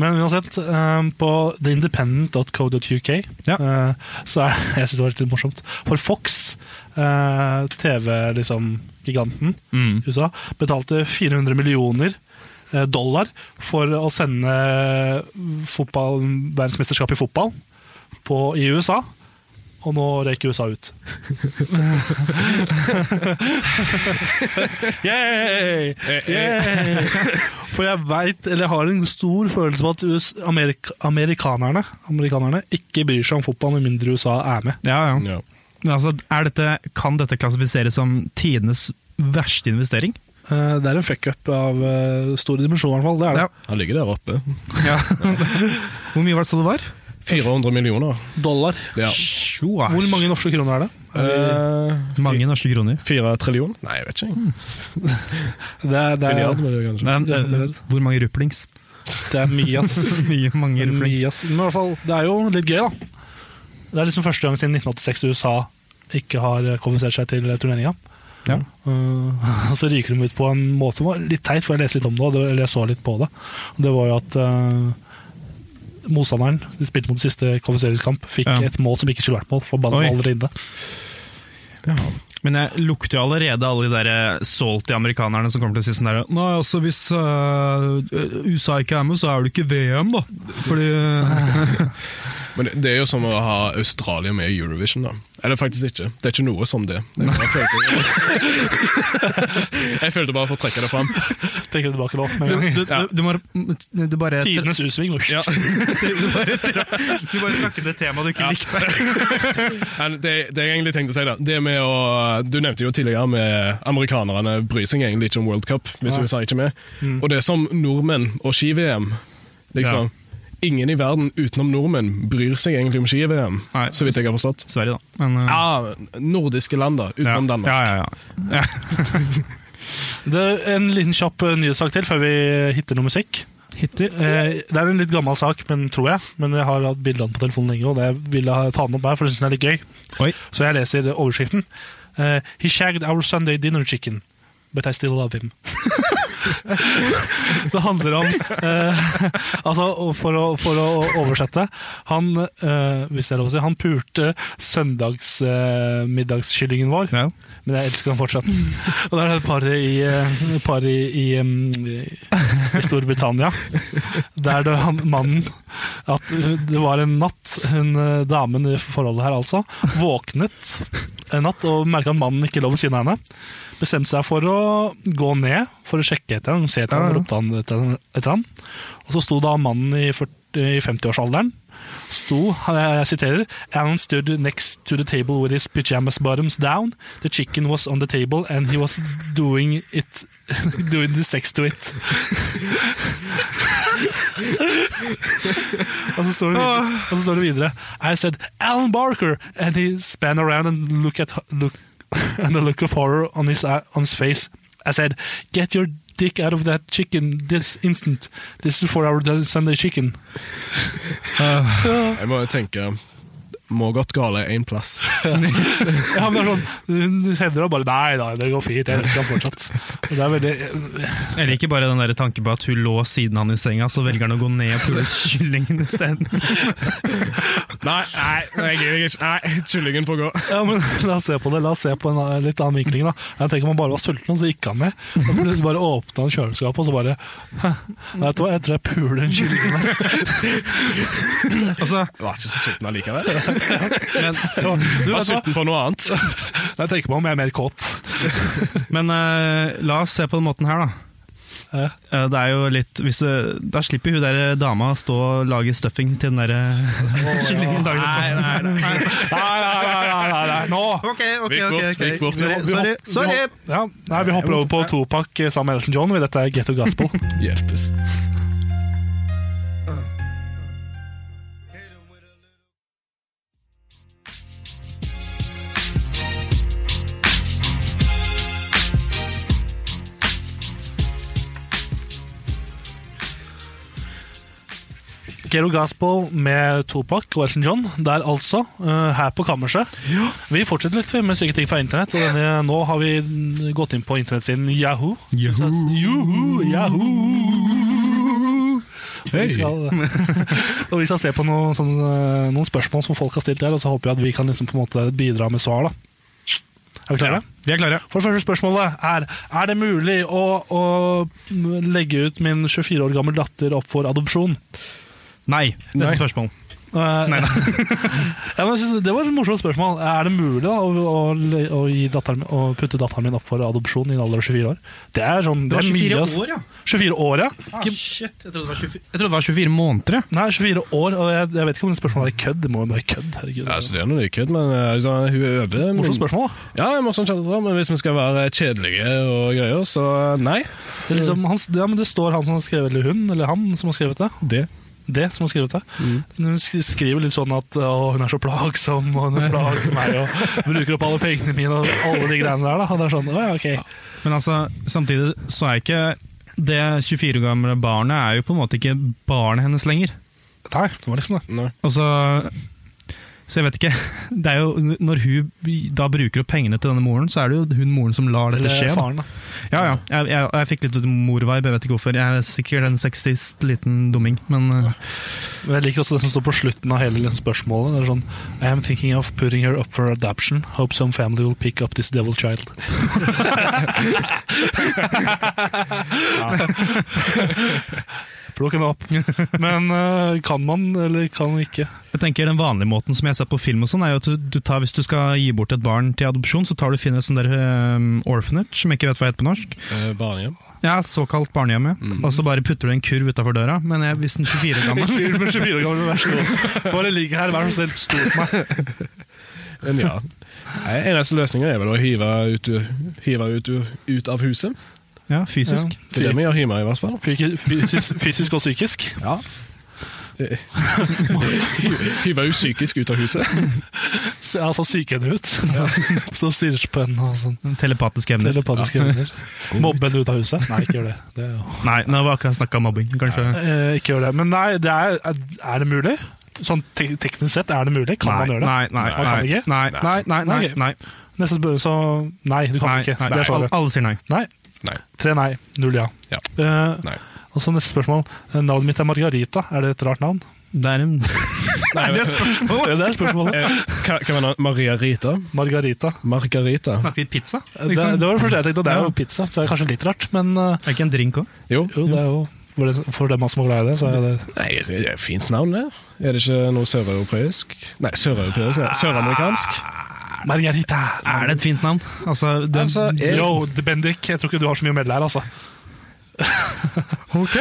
Men uansett, um, på theindependent.co.uk Ja. eh, så er jeg synes det var litt morsomt. For Fox, eh, liksom TV-giganten Mm. i USA, betalte 400 millioner eh, dollar for å sende fotball, verdensmesterskap i fotball på, i USA. Og nå røyk USA ut. Yay! Yay! For jeg veit, eller jeg har en stor følelse på at US, amerik amerikanerne, amerikanerne ikke bryr seg om fotball med mindre USA er med. Ja, ja. Ja. Men altså, er dette, kan dette klassifiseres som tidenes verste investering? Eh, Det er en fuckup av eh, store dimensjoner, i hvert fall. Det er det. Ja. Han ligger der oppe. Hvor mye var det så det var? 400 millioner. Dollar. Ja. Sjoasj. Hvor mange norske kroner er det? Eh, Mange norske kroner. Fire trillion? Nei, jeg vet ikke. jeg. Det er, det er, Milliard, var det kanskje. Nei, eh, hvor mange ruplings? det er mye, ass. Mye, mange ruplings. Mye, ass. Men i hvert fall, det er jo litt gøy, da. Det er liksom første gang siden 1986 USA ikke har eh, kvalifisert seg til turneringa. Ja. Eh, og så ryker de ut på en måte som var litt teit, for jeg leste litt om det, og det- eller jeg så litt på det. Og det var jo at eh, motstanderen de spilte mot siste kvalifiseringskamp, fikk Ja. et mål som ikke skulle vært mål, for Oi. ballen var allerede inne. Men jeg lukter jo allerede alle de der salty amerikanerne som kommer til å si sånn der Nei, altså hvis eh, USA ikke er med, så er det ikke VM, da. Fordi Men det, det er jo som å ha Australia med i Eurovision, da. Eller faktisk ikke. Det er ikke noe som det. Jeg, bare følte, jeg følte bare for å trekke det fram. Tenker jeg tilbake nå. med Du, en du, du, gang. du må du bare Tidenes utsving. Ja. Du bare, du bare snakket et tema du ikke likte. Men Det, det jeg egentlig tenkte å si, da Det med å, Du nevnte jo tidligere med amerikanerne bryr seg egentlig ikke om World Cup hvis USA ikke er med. Mm. Og det er som nordmenn og ski-VM. Liksom Ingen i verden utenom nordmenn bryr seg egentlig om ski-VM, Nei. så vidt jeg har forstått. Sverige, da. Men, uh, Ja, Nordiske land, da. ja. Utenom Danmark. Ja, ja, ja. Det er en liten kjapp eh, nyhetssak til før vi hitter noe musikk. Hitter. Eh, Det er en litt gammel sak, men tror jeg. Men jeg har hatt bilde av den på telefonen lenge, og jeg ville ha- ta den opp her, for jeg syns den er litt gøy. Oi. Så jeg leser overskriften. Eh, He shagged our Sunday dinner chicken, but I still love him. det handler om eh, Altså, for å, for å oversette Han, eh, hvis det er lov å si, han pulte søndagsmiddagskyllingen vår. Ja. Men jeg elsker han fortsatt. Og der er det paret i, eh, par i, i, em, i Storbritannia. Der det han, mannen At det var en natt Hun eh, damen i forholdet her altså våknet en natt og merka at mannen ikke lå ved siden av henne. Bestemte seg for å gå ned for å sjekke etter ham. Se etter Ja, ham, ja. ropte han etter ham- etter ham. Og så sto da mannen i 40 i 50-årsalderen sto, er- jeg siterer, Alan stood next to the table with his pyjamas bottoms down. The chicken was on the table and he was doing it, doing the sex to it. og, så står det videre, og så står det videre, I said Alan Barker and he span around and look at look, and the look of horror on his, uh, on his face. I said, get your dick out of that chicken this instant. This is for our Sunday chicken. Jeg må jo tenke Må godt gale én plass. Ja, men det er sånn, Hun hevder da bare Nei da, det går fint. Jeg elsker ham fortsatt. Og Det er veldig, Jeg liker bare den der tanken på at hun lå siden han i senga, så velger han å gå ned og pule kyllingen isteden. Nei, nei, nei, jeg gidder ikke. Nei, kyllingen får gå. ja, men La oss se på det. La oss se på en annen- litt annen vinkling. da Jeg tenker Man bare var sulten, og så gikk han ned. Og så plutselig bare åpna han kjøleskapet, og så bare «Hæ, Vet du hva, jeg tror jeg puler en kylling. der». Altså, Jeg var ikke så sulten allikevel. Du, Jeg var vet du hva? sulten på noe annet. Jeg tenker meg om, jeg er mer kåt. men eh, la oss se på den måten her, da. Ja. Eh, det er jo litt hvis, eh, Da slipper hun der dama å stå og lage stuffing til den der eh, kyllingen dagen etterpå. Nei, nei, nei, nei, nei, nei. nå! Ok, ok, Gikk ok. bort, ok. gikk bort. Sorry, Vi Sorry. hop- vi sorry. hop- Ja, nei, vi hopper over på Topak eh, sammen med Elton John. Dette er Ghetto Gospel. Hjelpes. Gero Gaspol med Topak og Elton John, der altså, eh, her på kammerset. Vi fortsetter litt med syke ting fra internett, og denne, nå har vi mm, gått inn på internettsiden Yahoo. Yahoo! Yahoo! Vi skal, og vi skal se på noen, sånne, eh, noen spørsmål som folk har stilt der, og så håper jeg at vi kan liksom på en måte bidra med svar. da. Er vi klare? Vi er klare. For det første spørsmålet er Er det mulig å, å legge ut min 24 år gammel datter opp for adopsjon? Nei. Neste Nei. spørsmål. Eh, Nei, ja, men jeg synes det var et morsomt spørsmål. Er det mulig da, å, å, å, gi datteren, min- å putte datteren min opp for adopsjon i en alder av 24 år? Det er sånn, det er mye, ass. ja. 24 år, ja. Ah, shit, jeg trodde, det var 24, jeg trodde det var 24 måneder. jeg. Nei, 24 år, og jeg, jeg vet ikke om det spørsmålet er kødd. Det må jo være kødd, herregud. Ja, så det er noe kødd, men eh, altså, hun er over. men- Morsomt spørsmål. da. Ja, jeg må sånn chatte da, men hvis vi skal være kjedelige og greier, så eh, nei. Det, er liksom, han, ja, men det står han som har skrevet eller hun, eller han som har skrevet det. Det. Det som har skrevet det. Mm. Hun sk- skriver litt sånn at å, hun er så plagsom, og hun plager meg, og bruker opp alle pengene mine, og alle de greiene der. da. Og det er sånn, å, ja, ok. Men altså, samtidig så er ikke det 24 år gamle barnet er jo på en måte ikke barnet hennes lenger. Nei, det var liksom det. Nei. Altså, så jeg vet ikke. Det er jo, når hun da bruker opp pengene til denne moren, så er det jo hun moren som lar dette skje. Eller da. faren, da. Ja, ja. Jeg, jeg, jeg fikk litt morvibe, jeg vet ikke hvorfor. Jeg er sikkert en sexist liten dumming, men uh, Men jeg liker også det som står på slutten av hele liksom spørsmålet. Det er sånn I am thinking of putting her up for adoption. Hope some family will pick up this devil child. Plukk henne opp. Men eh, kan man, eller kan man ikke? Jeg tenker Den vanlige måten som jeg ser på film, og sånn er jo at du- du tar, hvis du skal gi bort et barn til adopsjon, så tar du finner et sånt der eh, orphanage, som jeg ikke vet hva heter på norsk. Eh, Barnehjem. Ja, Såkalt barnehjem, ja. Og så bare putter du en kurv utafor døra. Men jeg, hvis en 24 år gammel Fyr med 24 år gammel, vær så god. Bare ligg her, vær så snill, stol på meg. Men ja. Nei, eneste løsningen er vel å hive ut, hive ut, ut av huset. Ja, fysisk. Det er det vi gjør hjemme, i hvert fall. Fysisk, fysisk- fysisk og psykisk. Ja. Hive ut psykisk ut av huset. Se, altså psyke henne ut. Så stirrer på henne og sånn. Telepatiske evner. Telepatiske evner. Mobbe henne ut av huset. Nei, ikke gjør det. det er jo. Nei, nå var akkurat snakka om mobbing, kanskje. Eh, ikke gjør det. Men nei, det er, er det mulig? Sånn te teknisk sett, er det mulig? Kan nei, man gjøre det? Nei, nei, Man kan nei, ikke? nei, nei, nei, nei, Ok. nei, Neste spørsmål, så Nei, du kan nei, ikke. nei, det er Alle, svaret. alle sier nei. Nei. Nei. Tre nei, null ja. Ja. Eh, Nei. og så neste spørsmål. Eh, Navnet mitt er Margarita. Er det et rart navn? Det er en Nei, Det er spørsmålet! Ja, det er spørsmålet. Eh, Hva hva var navnet? Maria Rita? Margarita. Margarita. Snakker vi pizza? Eh, Det, det Eh, Liksom? var det første jeg tenkte. og Det er Ja. jo pizza, så det er kanskje litt rart, men eh, Er ikke en drink òg? Jo. jo, det er jo for det- for dem som er glad i det, så er det Nei, det er et fint navn, det. Er det ikke noe søreuropeisk? Nei, søreuropeisk? ja. Søramerikansk? Margarita! Er det et fint navn? Altså, det, Altså, jeg- Yo, Bendik, jeg tror ikke du har så mye å melde her, altså. Ok!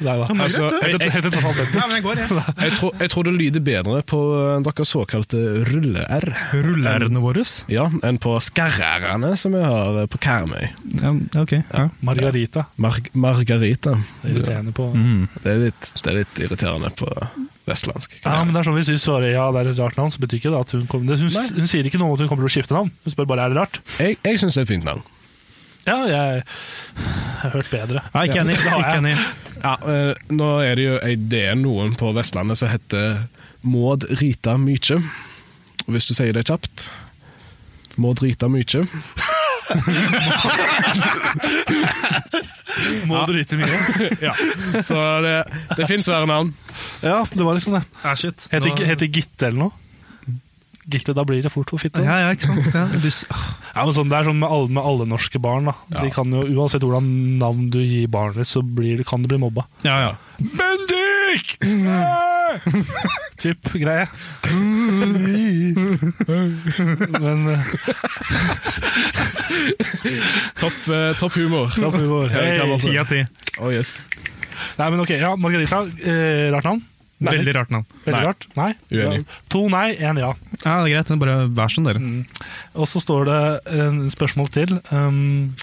Nei da. Altså, jeg, Heter- jeg, heter tross alt Bendik. Ja, men jeg går, jeg. jeg, tror, jeg tror det lyder bedre på eh, deres såkalte rulle-r Rullerne våre. ja, enn på skarrærene som vi har eh, på Karmøy. Ja, ok. Ja. Margarita. Mar Margarita. Det Irriterende på er, litt, det er litt irriterende på vestlandsk. Ja, men det er sånn Hvis hun svarer ja, det er et rart navn, så betyr ikke det at hun kommer Hun, Nei. hun sier ikke noe om at hun kommer til å skifte navn. Hun spør bare er det rart. Jeg, jeg syns det er et fint navn. Ja, jeg, jeg har hørt bedre. Ja, ikke enig. har Ikke jeg. enig. Ja, eh, nå er det jo eh, det er noen på Vestlandet som heter Maud Rita Mykje. Og Hvis du sier det kjapt Maud Rita Mykje. Må drite mye. Ja. Så det, det fins svære navn. Ja, det var liksom det. Ja, Ah, shit. Heter, Nå- ikke- heter Gitte eller noe? Gitte, da blir det fort for fitte. Ja, Ja, ja, ikke sant. Ja. Du, s- men sånn, det er sånn med alle, med alle norske barn. da. De kan jo, Uansett hvordan navn du gir barnet, så blir det, kan det bli mobba. ja, ja. Bendik! Typ greie. Men eh, Topp, eh, topp humor. da får vi gå Ja, det kan Hei. man si. Ti av ti. Oh, yes. Nei, men ok, ja, Margarita. Eh, rart navn? Nei. Veldig rart navn. Veldig Nei. rart. Nei. Uenig. Ja. To nei, én ja. Ja, det er greit. det er Bare vær som dere. Og så står det en spørsmål til. Um,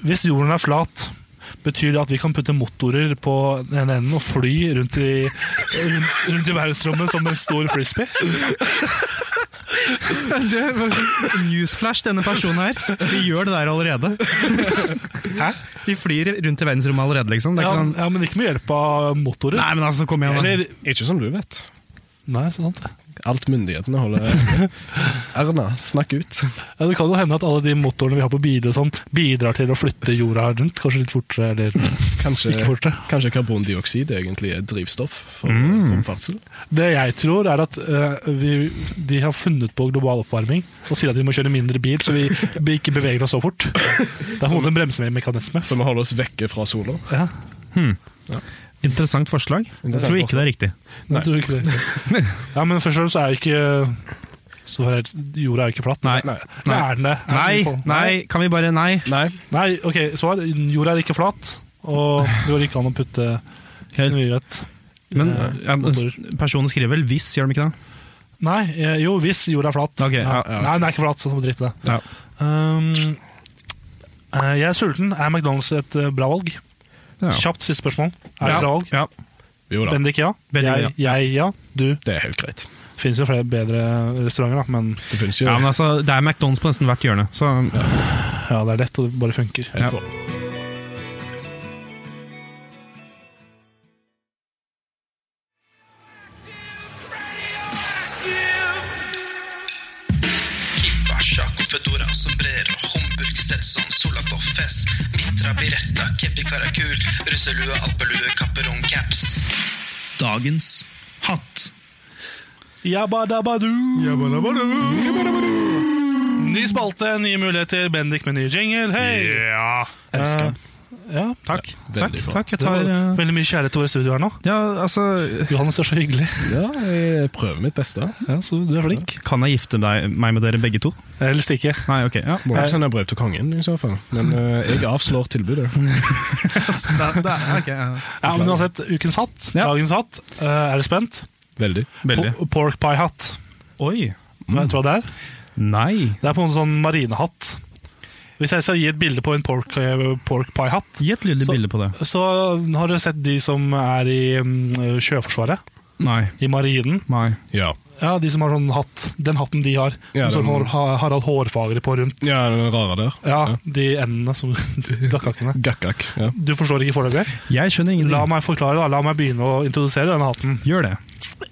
hvis jorden er flat, betyr det at vi kan putte motorer på den ene enden og fly rundt i, rundt, rundt i verdensrommet som en stor frisbee? sånn Newsflash, denne personen her. Vi gjør det der allerede. Hæ? Vi flyr rundt i verdensrommet allerede, liksom. Det er Ja, ikke sånn ja, men ikke med hjelp av motorer. Nei, men altså, kom igjen. da. Eller, Ikke som du vet. nei, sant? Alt myndighetene holder Erna, snakk ut. Ja, det kan jo hende at alle de motorene vi har på biler, og sånn, bidrar til å flytte jorda rundt. Kanskje litt fortere, eller Mm, Kanskje, ikke fortere. kanskje karbondioksid egentlig er drivstoff for romferdsel? Det jeg tror er at eh, vi, de har funnet på global oppvarming og sier at vi må kjøre mindre bil, så vi vi ikke beveger oss så fort. Det er hodet en bremsemekanisme. Så vi holder oss vekke fra sola. Ja, Interessant forslag. Jeg tror ikke det er riktig. jeg tror ikke det. ja, men først og fremst er jo ikke så er, jorda er jo ikke flatt. Nei. Nei. Men Er den det? Er Nei, den sånn? nei, kan vi bare Nei. Nei. Nei, ok, svar. Jorda er ikke flat, og det går ikke an å putte ikke så mye vet. Men Eh, ja, men s- personen skriver vel 'hvis', gjør de ikke det? Nei, eh, jo, hvis jorda er flat. Ok, ja, ja. Nei, den er ikke flat, så drit i det. Ja. Um, eh, jeg er sulten. Er McDonald's et eh, bra valg? Ja. Kjapt siste spørsmål. Er det Ja, bra valg? Ja. Jo da, Bendik ja. Bendik, jeg, jeg ja. Du. det er helt greit. Det finnes jo flere bedre restauranter, da, men Det finnes jo ja, men altså, det er McDonald's på nesten hvert hjørne, så ja, det er lett, og det bare funker. Jeg Ja. får- Kippa, sjakk, fedora, sombrero, Homburg, Stetson, Solakov, Fess, Mitra, Biretta, Keppi, Karakul, russelue, alpelue, kapperong, caps. Dagens hatt. Jabadabadu! Ny spalte, nye muligheter. Bendik med ny jingle. Hei! Ja. Eh, Ja, Takk. veldig takk, flott. takk. Jeg det var tar eh, Veldig mye kjærlighet til våre studio her nå. Ja, altså Johannes er så hyggelig. Ja, jeg prøver mitt beste. Ja, så du er flink. Kan jeg gifte deg, meg med dere begge to? Helst ikke. Nei, ok. Ja. Må jo sende brev til kongen i så fall. Men eh, jeg avslår tilbudet. Det, det, er- ok, ja. Ja, men uansett, ukens hatt, Ja. dagens hatt, eh, er du spent? Veldig. Veldig. Po- Pork pie-hatt. Oi. Vet du hva det er? Nei. Det er på en sånn marinehatt. Hvis jeg skal gi et bilde på en pork, eh, pork pie-hatt, Gi et lydelig Så- bilde på det. så har dere sett de som er i mm, Sjøforsvaret, Nei. i marinen. Nei. Ja. Ja, de som har sånn hatt. Den hatten de har. Ja, med sånn den- hår, ha- Harald Hårfagre på rundt. ja, den rare der. Ja, de endene som Gakkakene. Gakkak. Ja. Du forstår ikke foreløpig? Jeg skjønner La ingenting. meg forklare, da. La meg begynne å introdusere denne hatten. Gjør det.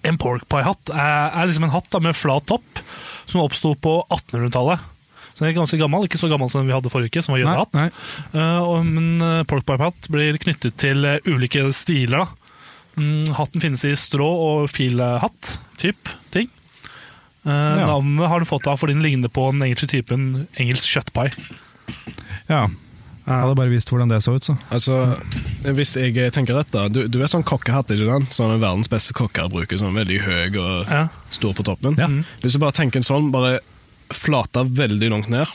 En pork pie-hatt er, er liksom en hatt da, med flat topp, som oppsto på 1800-tallet. Så den er ganske gammel, Ikke så gammel som den vi hadde forrige uke, som var Nei, jødehatt. nei. Eh, og- men eh, pork pie-hatt blir knyttet til eh, ulike stiler. da. Mm, hatten finnes i strå og filhatt typ ting. Eh, Navnet har den fått av fordi den ligner på den engelske typen engelsk kjøttpai. Ja. Jeg hadde bare visst hvordan det så ut, så. Altså, hvis jeg tenker rett, da. Du, du er sånn kokkehatt, ikke sant? Sånn verdens beste kokker bruker. Sånn veldig høy og Ja, stor på toppen. Ja. Hvis du bare tenker en sånn, bare flata veldig langt ned.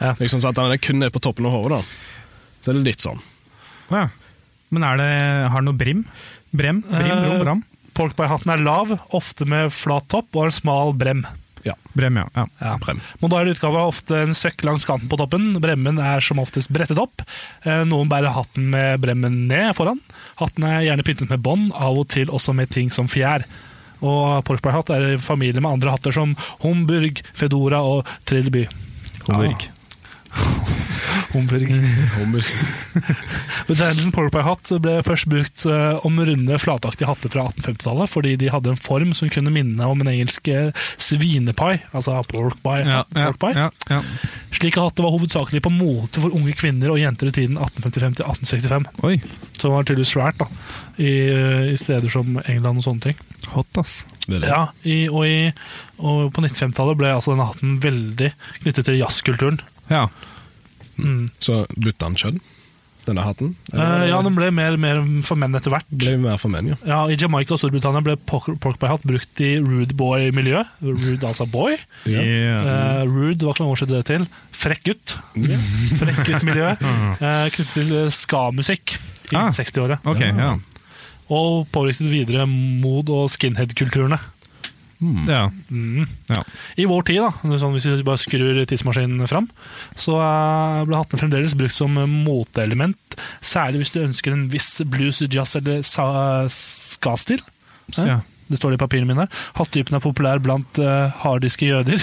Ja. Liksom sånn at den er kun er på toppen av hodet, da. Så er det litt sånn. Ja. Men er det, har det noe brim? Brem? Brim, Eh. brom, bram? Pork pie-hatten er lav, ofte med flat topp og en smal brem. Brem, ja. ja. Prem. Moderne utgave har ofte en søkk langs kanten på toppen. Bremmen er som oftest brettet opp. Eh, Noen bærer hatten med bremmen ned foran. Hatten er gjerne pyntet med bånd, av og til også med ting som fjær. Og porkpie-hatt er i familie med andre hatter som Homburg, Fedora og Trilleby. Hovedvirk. Homburg. Betegnelsen porkpie-hatt ble først brukt eh, om runde, flataktige hatter fra 1850-tallet, fordi de hadde en form som kunne minne om en engelsk eh, svinepai, altså pork pie. Ja, ja, pork pie. ja, ja. Slike hatter var hovedsakelig på mote for unge kvinner og jenter i tiden 1855 til 1865. Oi, Som var tydeligvis svært da, i, i steder som England og sånne ting. hot ass. Veldig. Ja, i, og, i, og På 1950-tallet ble altså denne hatten veldig knyttet til jazzkulturen. Ja. Mm. Så bytta han kjønn, denne hatten. Eh, ja, Den ble mer, mer for menn etter hvert. Ble mer for menn, ja. Ja, I Jamaica og Storbritannia ble pork pork pie hatt brukt i rude boy-miljø. Rude altså boy. ja. Eh, rude, hva kan man oversette det til? Frekk gutt. Frekk gutt-miljø. eh, knyttet til eh, ska-musikk i Ah. 60-året. Ok, ja. og påvirket videre mod- og skinhead-kulturene. ja. Mm. Ja. I vår tid, da, sånn hvis vi bare skrur tidsmaskinen fram, så eh, ble hattene fremdeles brukt som moteelement, særlig hvis du ønsker en viss blues, jazz eller sa- ska-stil. Så, ja. Det står det i papirene mine. Hattetypen er populær blant eh, hardiske jøder.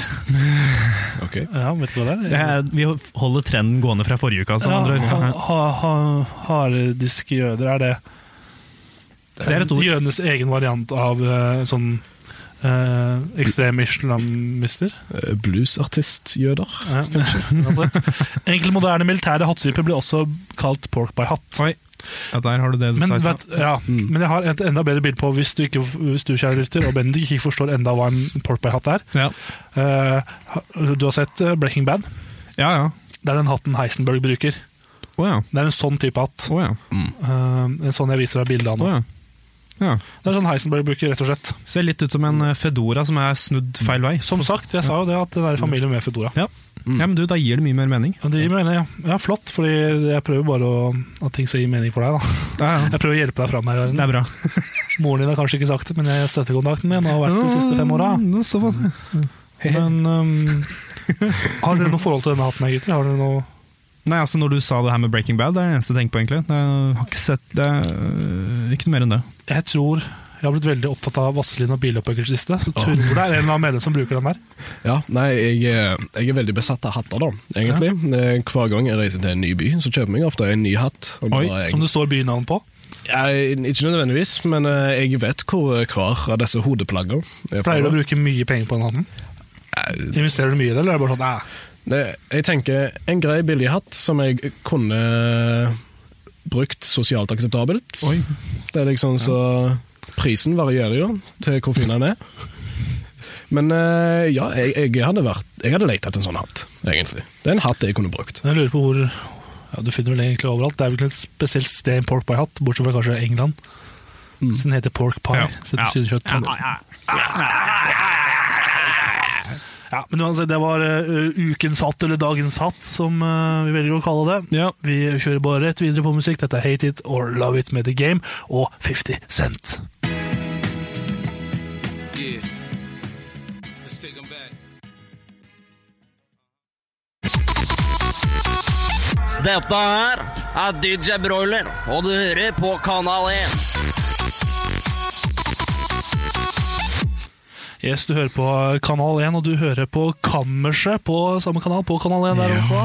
Ok. ja, vet ikke hva det er. Det er- vi holder trenden gående fra forrige uke, altså. med andre ja, ord. ha, ha, ha- hardiske jøder, er det Det er et ord. Jødenes egen variant av eh, sånn uh, ekstreme islamister. Eh, Bluesartistjøder. Ja, uansett. Enkelte moderne militære hattetyper blir også kalt pork by hatt. Oi, ja, der har du det Mm. du Men, sa. i stad. vet, ja, men jeg har et enda bedre bilde på hvis du, ikke, hvis du kjære lytter, og Bendik ikke forstår enda hva en pork by hatt er. Ja. Eh, du har sett eh, Breaking Bad? ja, ja. Det er den hatten Heisenberg bruker. Å ja. Det er en sånn type hatt. Å ja. Eh, en sånn jeg viser deg bildet Å av nå. ja. ja. Det er sånn Heisenberg bruker, rett og slett. Ser litt ut som en eh, Fedora som er snudd feil vei. Som sagt, jeg sa jo det at det er familie med Fedora. Ja, men du, Da gir det mye mer mening. Og det gir mening, ja. ja. Flott, fordi jeg prøver bare å, at ting skal gi mening for deg. da. Ja, ja. Jeg prøver å hjelpe deg fram her. Det Arne. er bra. Moren din har kanskje ikke sagt det, men jeg støttekontakten min har vært de siste fem åra. Ja, så var det. Men øhm, har dere noe forhold til denne hatten her, gutter? Har dere noe Nei, altså Når du sa det her med Breaking Bad, det er det eneste jeg tenker på. egentlig Det er, jeg har ikke sett det er øh, Ikke noe mer enn det. Jeg tror jeg har blitt veldig opptatt av Vazelin og bilopphøkkers siste. Jeg Tror det er en eller annen medlem som bruker den der. Ja, nei, jeg, eh, jeg er veldig besatt av hatter, da, egentlig. Eh, Hver gang jeg reiser til en ny by, så kjøper jeg ofte en ny hatt. Og Oi, bare- Som det står bynavn på. jeg, ikke nødvendigvis, men eh, jeg vet hvor hver av disse hodeplaggene er fra. Pleier du å bruke mye penger på den hatten? Investerer du mye i det, eller er det bare sånn æh? Det, jeg tenker en grei billig hatt som jeg kunne brukt sosialt akseptabelt. Oi, Det er liksom så Prisen varierer jo til hvor fin den er. Men eh, ja, jeg, jeg hadde vært Jeg hadde lett etter en sånn hatt, egentlig. Det er en hatt jeg kunne brukt. Jeg lurer på hvor Ja, du finner vel egentlig overalt. Det er vel ikke et spesielt sted en pork pie har hatt, bortsett fra kanskje England. Så den heter pork pie. Mm. Ja. Så det Ja. betyr kjøtt. Ja, men uansett, det var eh, ukens hatt, eller dagens hatt, som eh, vi velger å kalle det. Ja. Vi kjører bare rett videre på musikk. Dette er Hate It or Love It med The Game og 50 Cent. Dette her er DJ Broiler, og du hører på Kanal 1. Yes, du hører på Kanal 1, og du hører på Kammerset på samme kanal, på Kanal 1 der også.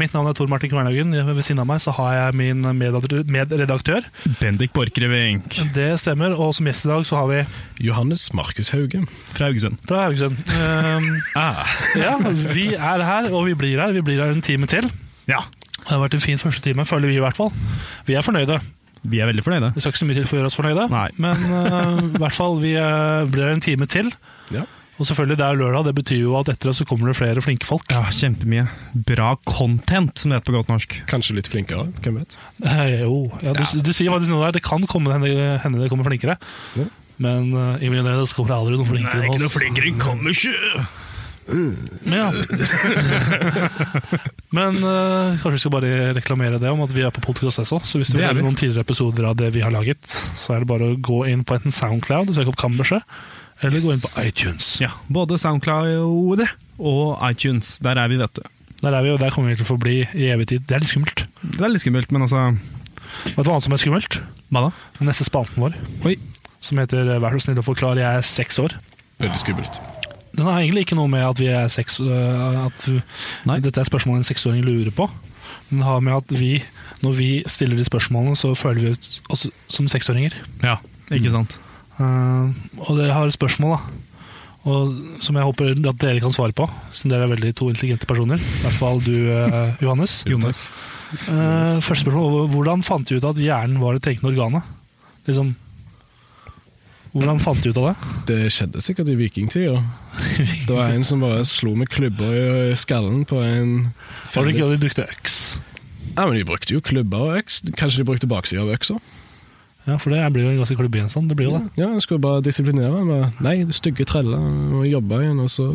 Mitt navn er Tor Martin Kvernhaugen. Ved siden av meg så har jeg min medredakt- medredaktør. Bendik Borchgrevink Det stemmer, og som gjest i dag så har vi Johannes Markus Hauge. fra Haugesund. fra Haugesund. Ehm, Ah. ja, vi er her, og vi blir her. Vi blir her en time til. Ja, Det har vært en fin første time, føler vi i hvert fall. Vi er fornøyde. vi er veldig fornøyde. Det skal ikke så mye til for å gjøre oss fornøyde, Nei. men eh, i hvert fall, vi eh, blir her en time til. Ja. Og selvfølgelig, det er jo lørdag, det betyr jo at etter oss så kommer det flere flinke folk. Ja, Kjempemye bra content, som det heter på godt norsk. Kanskje litt flinkere, hvem vet. Eh, jo, ja, du, du sier faktisk noe der. Det kan komme hende, hende det kommer flinkere. Ja. Men uh, i min øyne så kommer det aldri noen flinkere enn oss. flinkere enn kommer ikke! Men, ja. Men eh, kanskje vi skal bare reklamere det om at vi er på podcast også. Så hvis du Det vil er høre vi. noen tidligere episoder av det vi har laget, så er det bare å gå inn på enten Soundcloud, søke opp Kammerset, eller gå inn på iTunes. Ja, både SoundCloud og iTunes. Der er vi, vet du. Der er vi, og der kommer vi til å forbli i evig tid. Det er litt skummelt. Det er litt skummelt, men altså Vet du hva annet som er skummelt? Hva da? Den neste spalten vår, Oi. som heter eh, Vær så snill å forklare, jeg er seks år. Veldig skummelt. Den har egentlig ikke noe med at vi er seks øh, at vi- Nei. dette er spørsmål en seksåring lurer på. Den har med at vi, når vi stiller de spørsmålene, så føler vi oss oss som seksåringer. Ja, ikke sant? Eh, og dere har et spørsmål, da. Og, som jeg håper at dere kan svare på, siden dere er veldig to intelligente personer. I hvert fall du, eh, Johannes. Jonas. Eh, første spørsmål. Hvordan fant du ut at hjernen var det tenkende organet? Liksom, hvordan fant du ut av det? Det skjedde sikkert i vikingtida. Det var en som bare slo med klubber i skallen på en Var det ikke at felles- de brukte øks? Ja, men De brukte jo klubber og øks. Kanskje de brukte baksida av øksa? Ja, for det blir jo en ganske klubbegjenstand. Det blir jo det. Ja, jeg skulle bare disiplinere meg. med, Nei, det stygge trella. Og jobba igjen, og så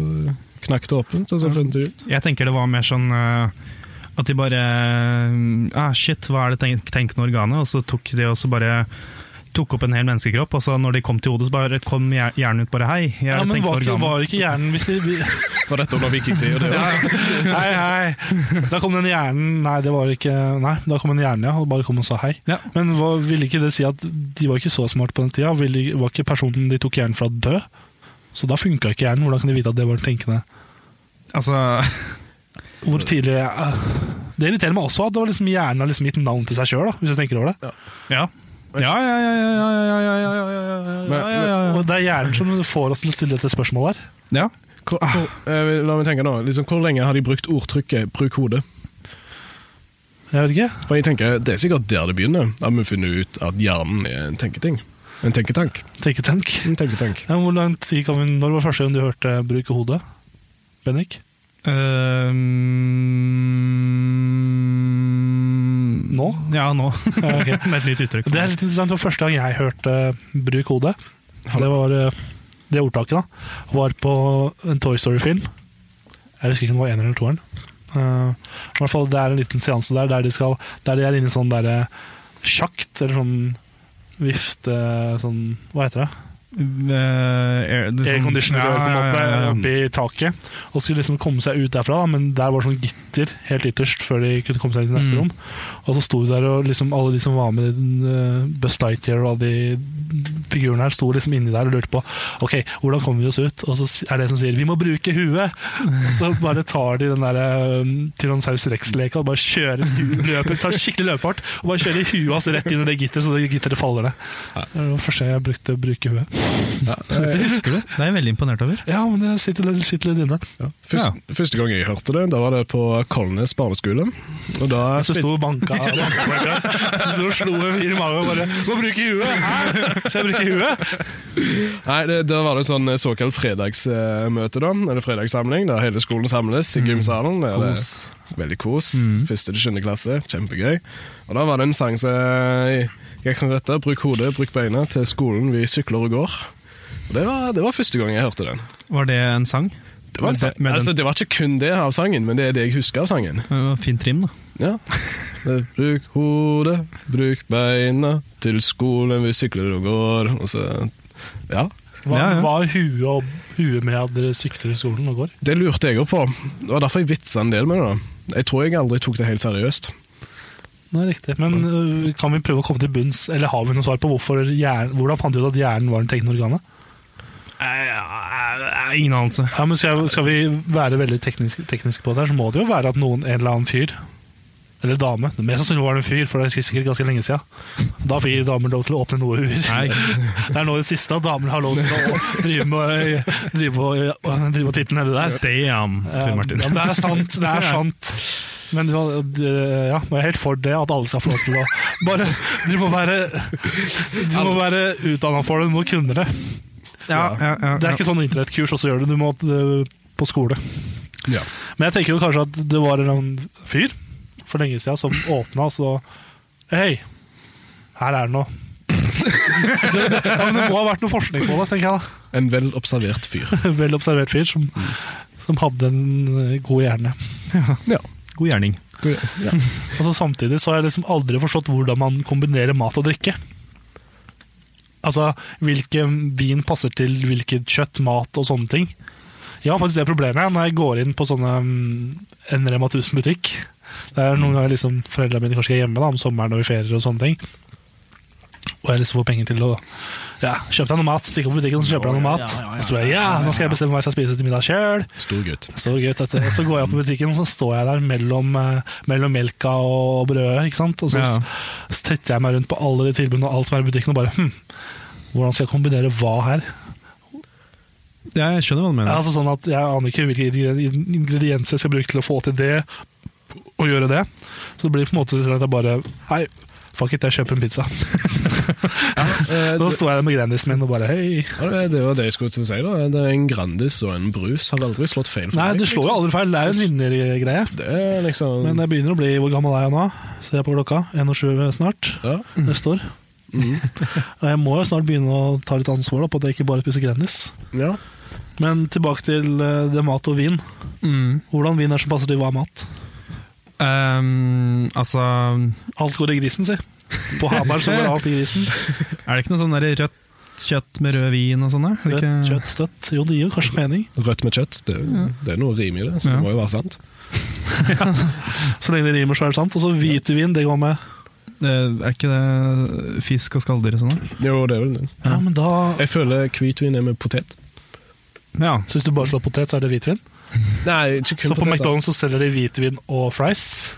knakk det åpent, og så fant jeg ut. Jeg tenker det var mer sånn eh, at de bare eh, ah, Shit, hva er det tenk tenkende organet? Og så tok de også bare tok opp en hel menneskekropp, og så når de kom til hodet, så bare kom hjer- hjernen ut bare Hei, jeg er Ja, det men tenkende var, ikke- organet. var ikke hjernen hvis de, vi- Var dette under vikingtida? det også? Hei, hei! Da kom den hjernen Nei, det var ikke Nei, da kom en hjerne, ja, og bare kom og sa hei. Ja. Men hva, ville ikke det si at de var ikke så smarte på den tida? Ville, var ikke personen de tok hjernen fra død? Så da funka ikke hjernen. Hvordan kan de vite at det var tenkende? Altså, Hvor tidlig eh, Det irriterer meg også at det var liksom hjernen har liksom gitt navn til seg sjøl, hvis du tenker over det. ja. Ja, ja, ja, ja, ja, ja, ja, ja, ja, ja, ja, ja, ja. Og det er hjernen som får oss til å stille dette spørsmålet her. ja. Hvor, hvor, eh, la meg tenke nå, liksom, hvor lenge har de brukt ordtrykket 'bruk hodet'? Jeg vet ikke. For jeg tenker, Det er sikkert der det begynner, at vi finner ut at hjernen er en tenketing. En tenketank. Tenk, tenk. En tenketank. Ja, men hvor lang tid kan vi, Når var første gang du hørte 'bruke hodet'? Bennik? Ehm, Nå? Ja, nå. Ja, ok. Med et nytt uttrykk. Det er litt interessant, for første gang jeg hørte eh, 'bruk hodet', det var eh, det ordtaket, da, var på en Toy Story-film. Jeg husker ikke om det var eneren eller toeren. Eh, I hvert fall det er en liten seanse der der de, skal, der de er inne i sånn derre sjakt, eller sånn vifte sånn, Hva heter det? Eh, air- det er sånn- Airconditioner Ja, på en måte, ja, ja, ja. oppe i taket. Og skulle liksom komme seg ut derfra, da, men der var det sånn gitter helt ytterst før de kunne komme seg inn i neste Mm. rom. Og så sto de der, og liksom alle de som var med i den, eh, Buzz Lightyear og alle de figurene her, sto liksom inni der og lurte på Ok, hvordan kommer vi oss ut? Og så er det en som sier 'vi må bruke huet'. Og så bare tar de den der eh, Tyrannosaurus rex-leka og bare kjører hu- løper, tar skikkelig løpefart og bare kjører huet hans rett inn i det gitteret, så det gitteret faller ned. Det var første gang jeg brukte 'bruke huet'. Ja, eh, Det er jeg veldig imponert over. Ja, men det sitter litt, sitter litt inne. ja. Først, Første gang jeg hørte det, da var det på Kolnes barneskole. Og da Jeg sto og banka. banka- banka. Jeg sto og slo en i magen og bare 'Må bruke huet!' Hæ? så jeg bruker huet. Nei, det, Der var det sånn såkalt fredagsmøte, da. Eller fredagssamling, der hele skolen samles i gymsalen. Der det Kos. er veldig kos. Første til sjuende klasse. Kjempegøy. Og da var det en sang som eh, gikk som dette. Bruk hodet, bruk beina. Til skolen vi sykler og går. Og det var, det var første gang jeg hørte den. Var det en sang? Det var, en Med sang. den- med den- altså, det var ikke kun det av sangen, men det er det jeg husker av sangen. Det var Fint trim, da. Ja. Eh, Bruk hodet, bruk beina, til skolen vi sykler og går. Og så, ja. Hva, Ja, ja. hva er huet, og, huet med at dere sykler i skolen og går? Det lurte jeg òg på. Det var derfor jeg vitsa en del med det. da. Jeg tror jeg aldri tok det helt seriøst. Det er riktig. Men øh, kan vi prøve å komme til bunns, eller har vi noe svar på hvorfor hjernen, hvordan fant du ut at hjernen var det tenkende organet? Eh, ingen anelse. Ja, men skal, skal vi være veldig tekniske tekniske på det, her, så må det jo være at noen, en eller annen fyr, eller dame det Mest sannsynlig var det en fyr, for det er sikkert ganske lenge siden. Da fikk damer lov til å åpne noe ur. Nei, Det er nå det siste at damer har lov til å drive med, drive med, drive med titten nedi der. damn, Tor Martin. Ja, det er sant. det er sant. Men ja, det- ja, jeg er helt for det at alle skal få lov til å Bare, Du må være, du må være utdanna for det, du må kunne det. Ja, ja, ja, Det er ikke sånn internettkurs, og så gjør du det. Du må øh, på skole. Ja. Men jeg tenker jo kanskje at det var en eller annen fyr for lenge siden som åpna, og så Hei, her er det noe. det, det, ja, men det må ha vært noe forskning på det, tenker jeg da. En vel observert fyr. Vel observert fyr som, som hadde en eh, god hjerne. God gjerning. Ja. Og så Altså, Samtidig så har jeg liksom aldri forstått hvordan man kombinerer mat og drikke. Altså, Hvilken vin passer til hvilket kjøtt, mat og sånne ting. Jeg har faktisk det problemet jeg, når jeg går inn på sånne mm, en Rema 1000-butikk. Det er noen ganger liksom foreldrene mine kanskje er hjemme da, om sommeren og i ferier og sånne ting. Og jeg liksom får penger til å ja, kjøpe deg noe mat, stikke på butikken og kjøpe deg noe mat. Og så bare, ja, nå skal jeg bestemme hva jeg skal spise til middag sjøl. Stor gutt. Så gøy, dette. Så går jeg opp i butikken, så står jeg der mellom, eh, mellom melka og brødet. ikke sant? Og så Ja. s- stritter jeg meg rundt på alle de tilbudene og alt som er i butikken, og bare hm, hvordan skal jeg kombinere hva her? Ja, jeg skjønner hva du mener. Altså sånn at Jeg aner ikke hvilke ingre- ingredienser jeg skal bruke til å få til det, og gjøre det. Så det blir på en måte sånn at jeg bare Hei, fuck it, jeg kjøper en pizza. Eh, Da det, står jeg der med Grandisen min og bare hei. ja, det- det var det jeg skulle til å si. da. Det er En Grandis og en brus har aldri slått feil for Nei, meg. det slår jo aldri feil. Det er jo en vinnergreie. Det er Mm. liksom Men eh, jeg begynner å bli Hvor gammel er jeg nå? Ser jeg på klokka. 1,7 snart. ja. neste år. Mm. Og jeg må jo snart begynne å ta litt ansvar da, på at jeg ikke bare spiser Grandis. ja. Men tilbake til eh, det mat og vin. Mm. Hvordan vin er som passer til hva er mat? Ehm, altså Alt går i grisen, si. På Hamar så går alt i grisen. Er det ikke noe sånn der rødt kjøtt med rød vin og sånn? der? Er det Rødt ikke- kjøtt, støtt. Jo, det gir jo kanskje mening. Rødt med kjøtt. Det, det er noe rim i det, så Ja. det må jo være sant. Så lenge det rimer, så er det sant. Og så hvitvin, det går med. Det- Eh, Er ikke det fisk og skalldyr og sånn? da? Jo, det er vel det. Ja, men da Jeg føler hvitvin er med potet. Ja. Så hvis du bare slår potet, så er det hvitvin? Nei, ikke kun Så på potet, da. McDonald's så selger de hvitvin og fries.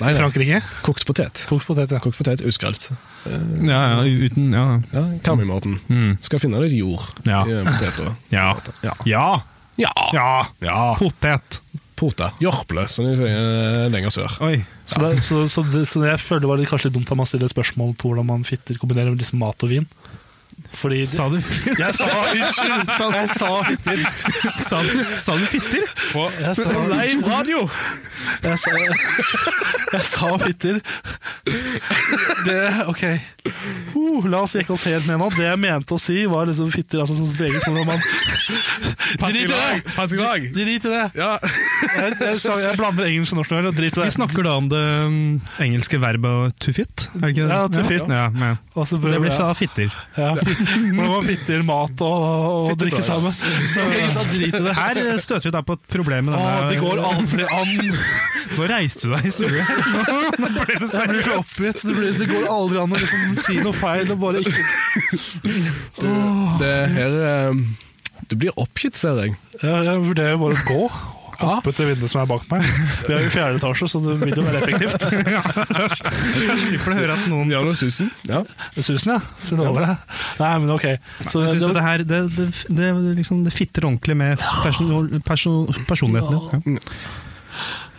Nei, I nei. Frankrike. Kokt potet. Kokt potet, ja. Kokt potet, uskrelt. ja, ja uten Ja. Ja, Karmøy-maten. Mm. Skal finne litt jord Ja. i eh, poteta. Ja. Ja. Ja. Ja. ja. Potet. Pota. Jorple, som de sier eh, lenger sør. Oi. Så, det, så, så, det, så jeg føler det var litt, kanskje litt dumt at man stiller spørsmål på hvordan man fitter kombinerer med liksom mat og vin. Fordi det, Sa du Jeg sa unnskyld! Jeg sa fitter. Sa du, sa du fitter? Jeg sa, Live radio! jeg sa, jeg sa fitter. Det, ok. Uh, la oss jekke oss helt ned nå. Det jeg mente å si, var liksom fitter. Altså som begge små man Drit i det! Pass i dag! Drit i det! Jeg, jeg, sa- jeg blander engelsk og norsk nå, og drit i Vi det. snakker da om det mm, engelske verbet to fit? Er det ikke det? Ja, to fit. Ja, ja. Og så Det prøver blir sånn. jeg- fra fitter. Ja, Hvordan man fitter mat og, og drikke sammen. Så gutta, drit i det. Her eh, støter vi deg på et problem med Å, denne det går aldri an! Nå reiste du deg i stue. Nå ble det Jeg blir så oppgitt. Det, blir, det går aldri an å liksom si noe feil og bare ikke Det her eh, Du blir oppgitt, ser jeg. Jeg, jeg vurderer bare å gå. Ja. Hoppe til vinduet som er bak meg. Vi er jo i fjerde etasje, så det vil jo være effektivt. Slipper du å høre at noen Ja, det susen. Ja. Susen, ja. Så lover jeg. Nei, men ok. Så Jeg det, synes at det, det her det, det, Mm. det, liksom, det fitter ordentlig med person, perso, personligheten din.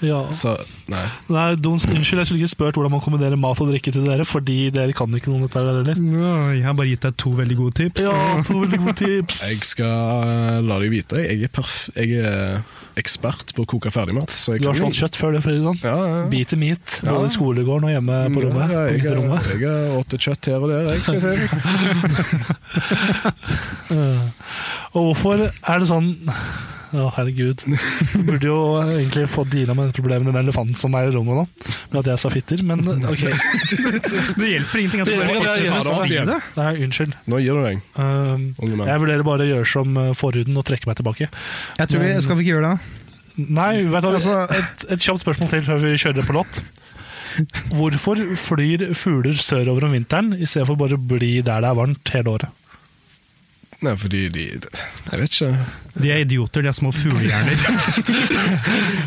Ja. Så nei. Nei, dumt. Unnskyld, jeg skulle ikke spurt hvordan man kombinerer mat og drikke til dere, fordi dere kan ikke noe om dette her heller. Jeg har bare gitt deg to veldig gode tips. Ja, to veldig gode tips. Jeg skal eh, la deg vite. Jeg er, perf jeg er eh, ekspert på å koke ferdigmat. så jeg Du har kan- slått kjøtt før det, Fredriksson. Ja, ja. ja. Bit i mitt, både i skolegården og hjemme på rommet. Ja, på jeg, har- gutterommet. jeg har åtte kjøtt her og der, jeg, skal jeg si. Og hvorfor er det sånn Å, herregud. Du burde jo egentlig få deala med dette problemet med den elefanten som er i rommet nå, med at jeg sa fitter, men eh, ok. Det hjelper ingenting at du Det bare hjelper ikke, fortsetter det å er si det. Nei, unnskyld. Nå gir du deg, Um, unge mann. jeg vurderer bare å gjøre som uh, forhuden og trekke meg tilbake. Jeg tror vi skal vi ikke gjøre det. Nei, vet du, hva, Altså- et, et kjapt spørsmål til før vi kjører på låt. Hvorfor flyr fugler sørover om vinteren i stedet for bare å bli der det er varmt hele året? Nei, fordi de Jeg vet ikke. De er idioter, de er små fuglehjerner.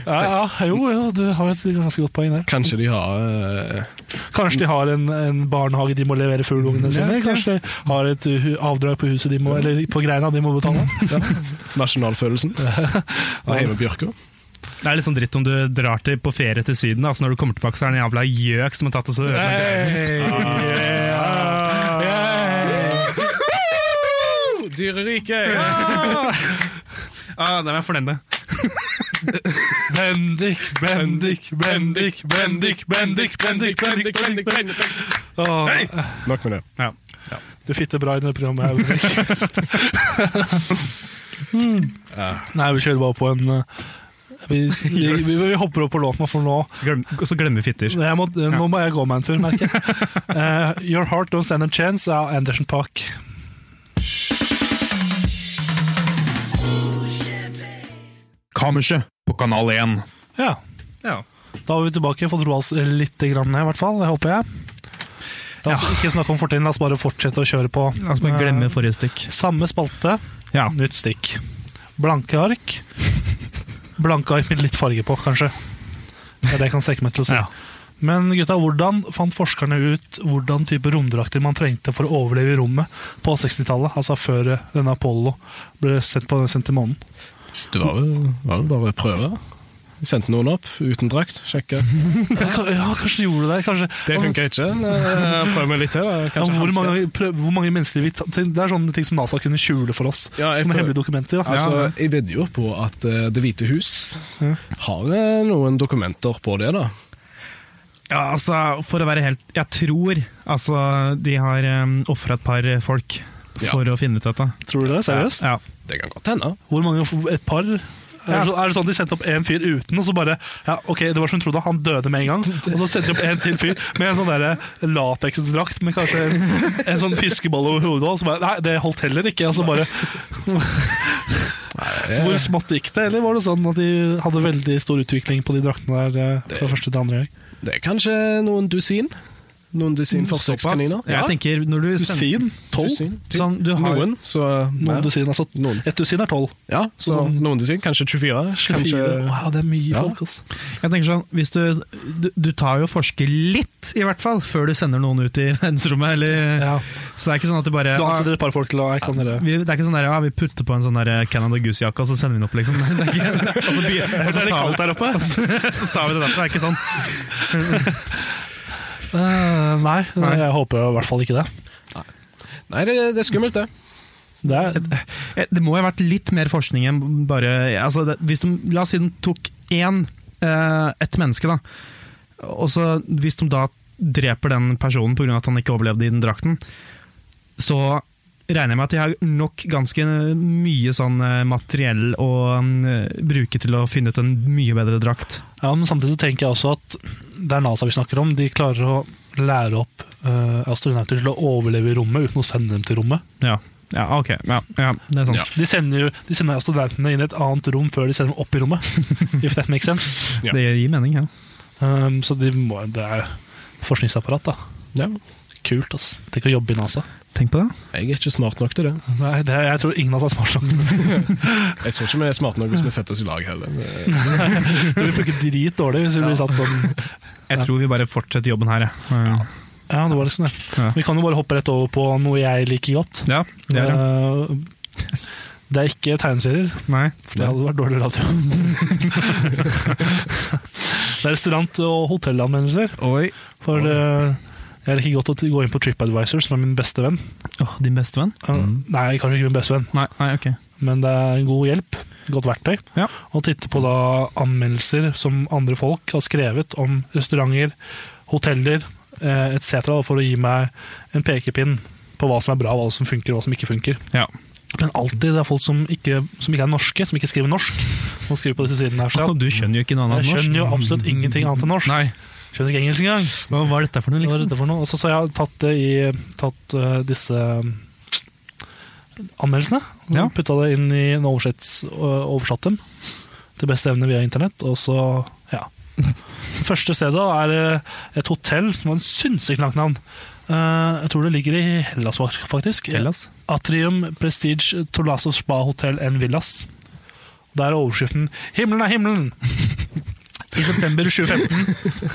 Ja, ja, jo, jo, du har et ganske godt poeng der. Kanskje de har eh, Kanskje de har en, en barnehage de må levere fuglungene sine i? Kanskje de har et hu- avdrag på huset de må, eller på greina de må betale? nasjonalfølelsen av Heime Bjørka. Det er litt sånn dritt om du drar til, på ferie til Syden, da, så når du kommer tilbake, så er det en jævla gjøk som har tatt og så ødelagt greia ditt. Dyreriket! Ah, den er jeg fornøyd med. Bendik, Bendik, Bendik, Bendik, Bendik, Bendik, Bendik, Bendik, Nok med det. Ja. Du fitter bra i det programmet her. Ulrik. mm. Nei, vi kjører bare på en eh, vi, vi, vi, vi hopper opp på låten, for nå Så glem, og så glemmer vi fitter. jeg må, Nå må jeg gå meg en tur, merker jeg. Eh, Your Heart Don't Stand a Chance av Anderson Park. Kammerset på Kanal 1. Ja. Ja. Da var vi tilbake, fått roa oss litt grann ned, i hvert fall. Det håper jeg. La oss ikke snakke om fortiden, la oss bare fortsette å kjøre på. La oss bare Eh, glemme forrige stikk. Samme spalte, Ja. nytt stikk. Blanke ark. Blanke ark med litt farge på, kanskje. Det er det jeg kan strekke meg til å si. Ja. Men gutta, hvordan fant forskerne ut hvordan type romdrakter man trengte for å overleve i rommet på 60-tallet? Altså før eh, denne Apollo ble sendt, på, sendt til månen. Det var vel, var vel bare prøve. Sendte noen opp uten drakt, sjekka. Ja, ka- ja, kanskje de gjorde det. Kanskje, Det funka ikke. Eh, Prøv meg litt til, da. Ja, Kanskje hvor, han skal- mange, prøv, hvor mange mennesker vi ta- Det er sånne ting som NASA kunne skjule for oss. Ja, jeg Sånne prøver- hemmelige dokumenter. Da. Altså, Jeg vedder jo på at eh, Det hvite hus har eh, noen dokumenter på det, da. Ja, altså, for å være helt Jeg tror altså de har um, ofra et par folk Ja. for å finne ut dette. Tror du det? Seriøst? Ja. Det kan godt hende. Hvor mange? Et par? Er det, så, er det sånn de sendte opp én fyr uten, og så bare ja, ok, det var som hun trodde, han døde med en gang. Og så sendte de opp en til fyr med en sånn der lateksdrakt med kanskje en, en sånn fiskeball over hodet. Og så bare, nei, det holdt heller ikke. Altså bare, hvor smått gikk det? Eller var det sånn at de hadde veldig stor utvikling på de draktene der eh, fra første til andre gang? Det er kanskje noen dusin. Noen dusin forsøkskaniner. Jeg tenker, når du sender Dusin? Tolv? Dusin. Til- sånn, du har, Noen, så Noen dusin, altså Noen. Et dusin er tolv. Ja, så noen dusin. Kanskje 24. Kanskje... Kanskje, Wow, det er mye Ja. folk, altså. Jeg tenker sånn, hvis du, du, du tar jo og forsker litt, i hvert fall, før du sender noen ut i verdensrommet. Eller, Ja. Så det er ikke sånn at du bare Du ah, ansetter et par folk til å Jeg kan dere vi, det er ikke sånn der, ja, vi putter på en sånn der Canada Goose-jakke, og så sender vi den opp, liksom. Det er ikke, og så, begynner- og Så så, er det kaldt tar, der oppe. så tar vi det derfra. Det er ikke sånn. Eh, nei, nei, jeg håper i hvert fall ikke det. Nei, det, det er skummelt, det. Det er, Eh, Det må jo ha vært litt mer forskning enn bare altså, det, hvis de, La oss si de tok én eh, ett menneske, da. Og så hvis de da dreper den personen pga. at han ikke overlevde i den drakten, så regner jeg med at de har nok ganske mye sånn eh, materiell å eh, bruke til å finne ut en mye bedre drakt. ja, men samtidig så tenker jeg også at det er NASA vi snakker om. De klarer å lære opp eh, astronauter til å overleve i rommet uten å sende dem til rommet. Ja, ja ok. Ja, ja, det er sant. De sender, jo, de sender astronautene inn i et annet rom før de sender dem opp i rommet. if that makes sense. Ja. Det gir mening, ja. Um, så de må, det er forskningsapparat, da. Ja. Kult, ass. Tenk å jobbe i NASA. Tenk på det. Jeg er ikke smart nok til det. Nei, det, jeg tror ingen av oss er smart nok. Jeg tror ikke vi er smart nok hvis vi setter oss i lag heller. eh, Det- Det vil funke drit dårlig hvis vi blir satt sånn. Jeg tror vi bare fortsetter jobben her, jeg. Ja, det var liksom det. Ja. Vi kan jo bare hoppe rett over på noe jeg liker godt. Ja, det er det. Eh, Eh, det er ikke tegneserier, Nei. for det hadde vært dårlig radio. Det er restaurant- og hotellanmeldelser. Oi. For eh, jeg liker godt å t- gå inn på TripAdvisor, som er min beste venn. Åh, din beste venn? Eh, Nei, kanskje ikke min beste venn, Nei, nei, ok. men det er en god hjelp. Godt verktøy. Ja. Å titte på da anmeldelser som andre folk har skrevet om restauranter, hoteller eh, etc., for å gi meg en pekepinn på hva som er bra, hva som funker og hva som ikke funker. Ja. Men alltid det er folk som ikke, som ikke er norske, som ikke skriver norsk. Som skriver på disse sidene her Og selv. du skjønner jo ikke noe annet Jeg enn norsk. skjønner jo absolutt ingenting annet enn norsk. Nei, Skjønner ikke engelsk engang. hva var dette for noe, Hva er liksom? dette for noe? Og Så, så jeg har tatt, det i, tatt eh, disse eh, anmeldelsene. og Ja. Putta det inn i en oversett, oversatt dem til beste evne via internett. Og så, ja. Det første stedet er eh, et hotell som har en sinnssykt langt navn. Eh, Jeg tror det ligger i Hellas, var- faktisk. Hellas? Atrium Prestige Tolasso Spa Hotel and Villas. Der er overskriften 'Himmelen er himmelen'! I september 2015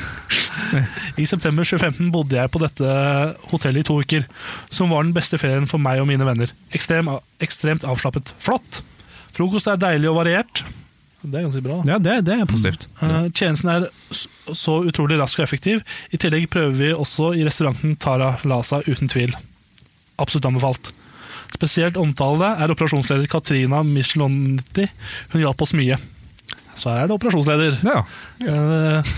I september 2015 bodde jeg på dette hotellet i to uker, som var den beste ferien for meg og mine venner. Ekstrem, ekstremt avslappet. Flott! Frokost er deilig og variert. Det er ganske bra. da. Ja, det, det er positivt. Eh, Tjenesten er s- så utrolig rask og effektiv. I tillegg prøver vi også i restauranten Tara Lasa uten tvil. Absolutt anbefalt. Spesielt omtale er operasjonsleder Katrina Michelonetti. Hun hjalp oss mye. Så her er det operasjonsleder. Ja. Eh,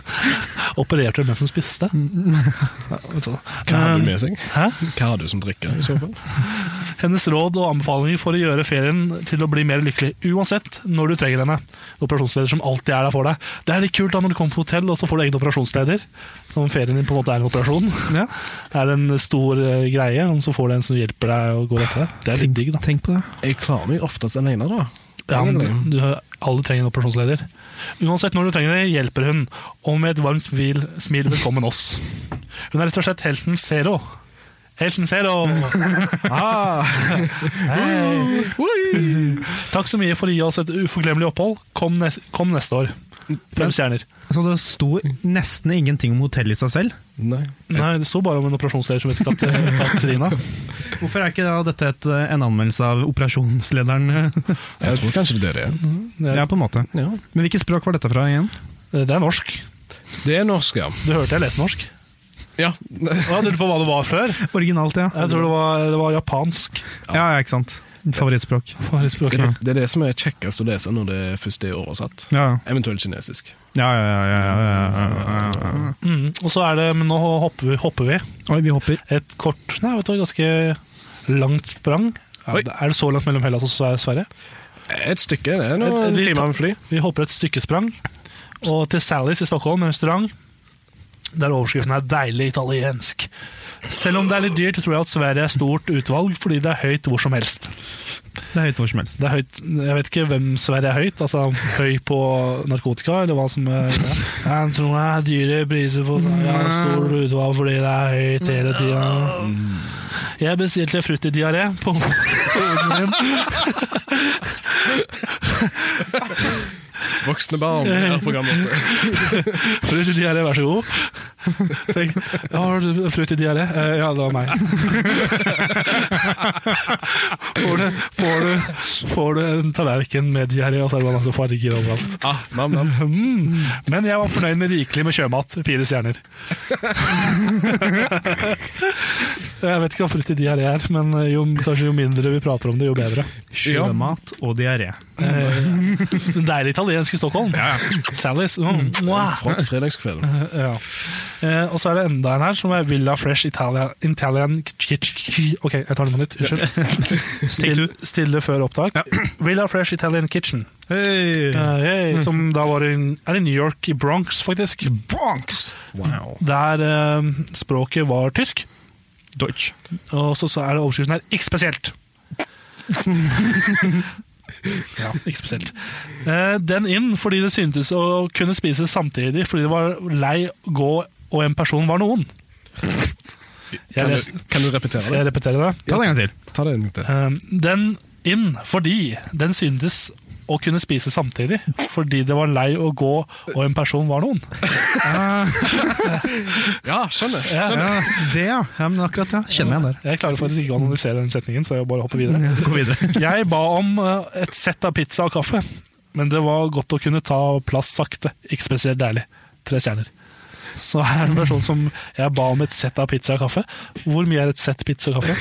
opererte mens hun spiste. Ja, vet du hva. Hva har Eh, du med seg? Hæ? Hva har du som drikker i så fall? Hennes råd og anbefalinger for å gjøre ferien til å bli mer lykkelig, uansett når du trenger henne. Operasjonsleder som alltid er der for deg. Det er litt kult da når du kommer på hotell og så får du egen operasjonsleder. Som ferien din på en måte er en operasjon. Ja. Det er en stor eh, greie, og så får du en som hjelper deg og går etter deg. Det er litt digg, da. Tenk på det. Jeg klarer meg oftest alene, da. Ja, men du, du, alle trenger en operasjonsleder. Uansett når du trenger det, hjelper hun. Og med et varmt smil, smil velkommen oss. Hun er rett og slett helten Zero. Helten Zero! Ah. Hei. Takk så mye for å gi oss et uforglemmelig opphold. Kom, nes kom neste år. Fem stjerner. Så Altså, det sto nesten ingenting om hotellet i seg selv. Nei. Nei, det sto bare om en operasjonsleder som heter Kat Katrina. Hvorfor er ikke da dette et, eh, en anmeldelse av operasjonslederen? Jeg tror kanskje det er det. Det Ja, er, på en måte. Ja. Men hvilket språk var dette fra igjen? det er norsk. Det er norsk, ja. Du hørte jeg leste norsk. Ja, Og jeg lurte på hva det var før. Originalt, ja. Jeg tror det var, det var japansk. Ja, ja, ikke sant. Favorittspråk. Hva er språket? Det er det som er kjekkest å lese når det først er oversatt. Ja, Eventuelt kinesisk. ja, ja. ja, ja, ja, ja, ja, ja. Mm, og så er det, men nå hopper vi, hopper vi. Oi, vi hopper. Et kort, nei, vet du, ganske langt sprang. Ja, Oi. det- er det så langt mellom Hellas og Sve- Sverige? Et stykke, det er Et- noen et- timer med fly. Vi hopper et stykkesprang. Og til Sallys i Stockholm, en restaurant, der overskriften er 'deilig italiensk'. Selv om det er litt dyrt, tror jeg at Sverige er stort utvalg, fordi det er høyt hvor som helst. Det er høyt hvor som helst. Det er høyt, jeg vet ikke hvem Sverige er høyt, altså høy på narkotika, eller hva som er Jeg tror det er dyre priser for ja, stor utvalg fordi det er høyt hele tida. Jeg bestilte fruktidiaré på hovedmenyen. Voksne barn er programmet. Frukt i diaré, vær så god. Tenk, ja, har du frukt i diaré? Eh, ja, det var meg. Får du, får du, får du en tallerken med diaré, og så er det masse farger overalt. Ah, nam, nam. Mm. Men jeg var fornøyd med rikelig med sjømat. Fire stjerner. Jeg vet ikke hva frukt i diaré er, men eh, jo, kanskje jo mindre vi prater om det, jo bedre. Sjømat og diaré. Eh, Deilig italiensk i Stockholm. Sallys. Mm. Mwah. Front fredagskveld. Ja. Eh, og så er det enda en her som er Villa Fresh Italia, Italian Kitchen Ok, jeg tar den på nytt. Unnskyld. Still, stille før opptak. Villa Fresh Italian Kitchen, Hey. eh, Mhm. hey, som da var i, er i New York, i Bronx, faktisk. Bonks! Wow. Der eh, språket var tysk. Deutsch. Og så, så er det overskriften her 'ikke spesielt'. ja, ikke spesielt. Eh, den inn fordi det syntes å kunne spise samtidig fordi det var lei gå og en person var noen. Jeg, Kan les, du, kan du repetere skal jeg det? repetere det. Ta det en gang til. Ta det en gang til. Eh, den inn fordi den syntes å kunne spise samtidig fordi det var lei å gå og en person var noen. Ja, skjønner. skjønner. Ja, det, ja. ja men akkurat, ja. Kjenner meg igjen der. Jeg klarer faktisk ikke å analysere den setningen, så jeg bare hopper videre. Gå videre. Jeg ba om eh, et sett av pizza og kaffe. men det var godt å kunne ta plass sakte. Ikke spesielt deilig. Tre stjerner. Så her er det en person som jeg ba om et sett av pizza og kaffe. Hvor mye er et sett pizza og kaffe?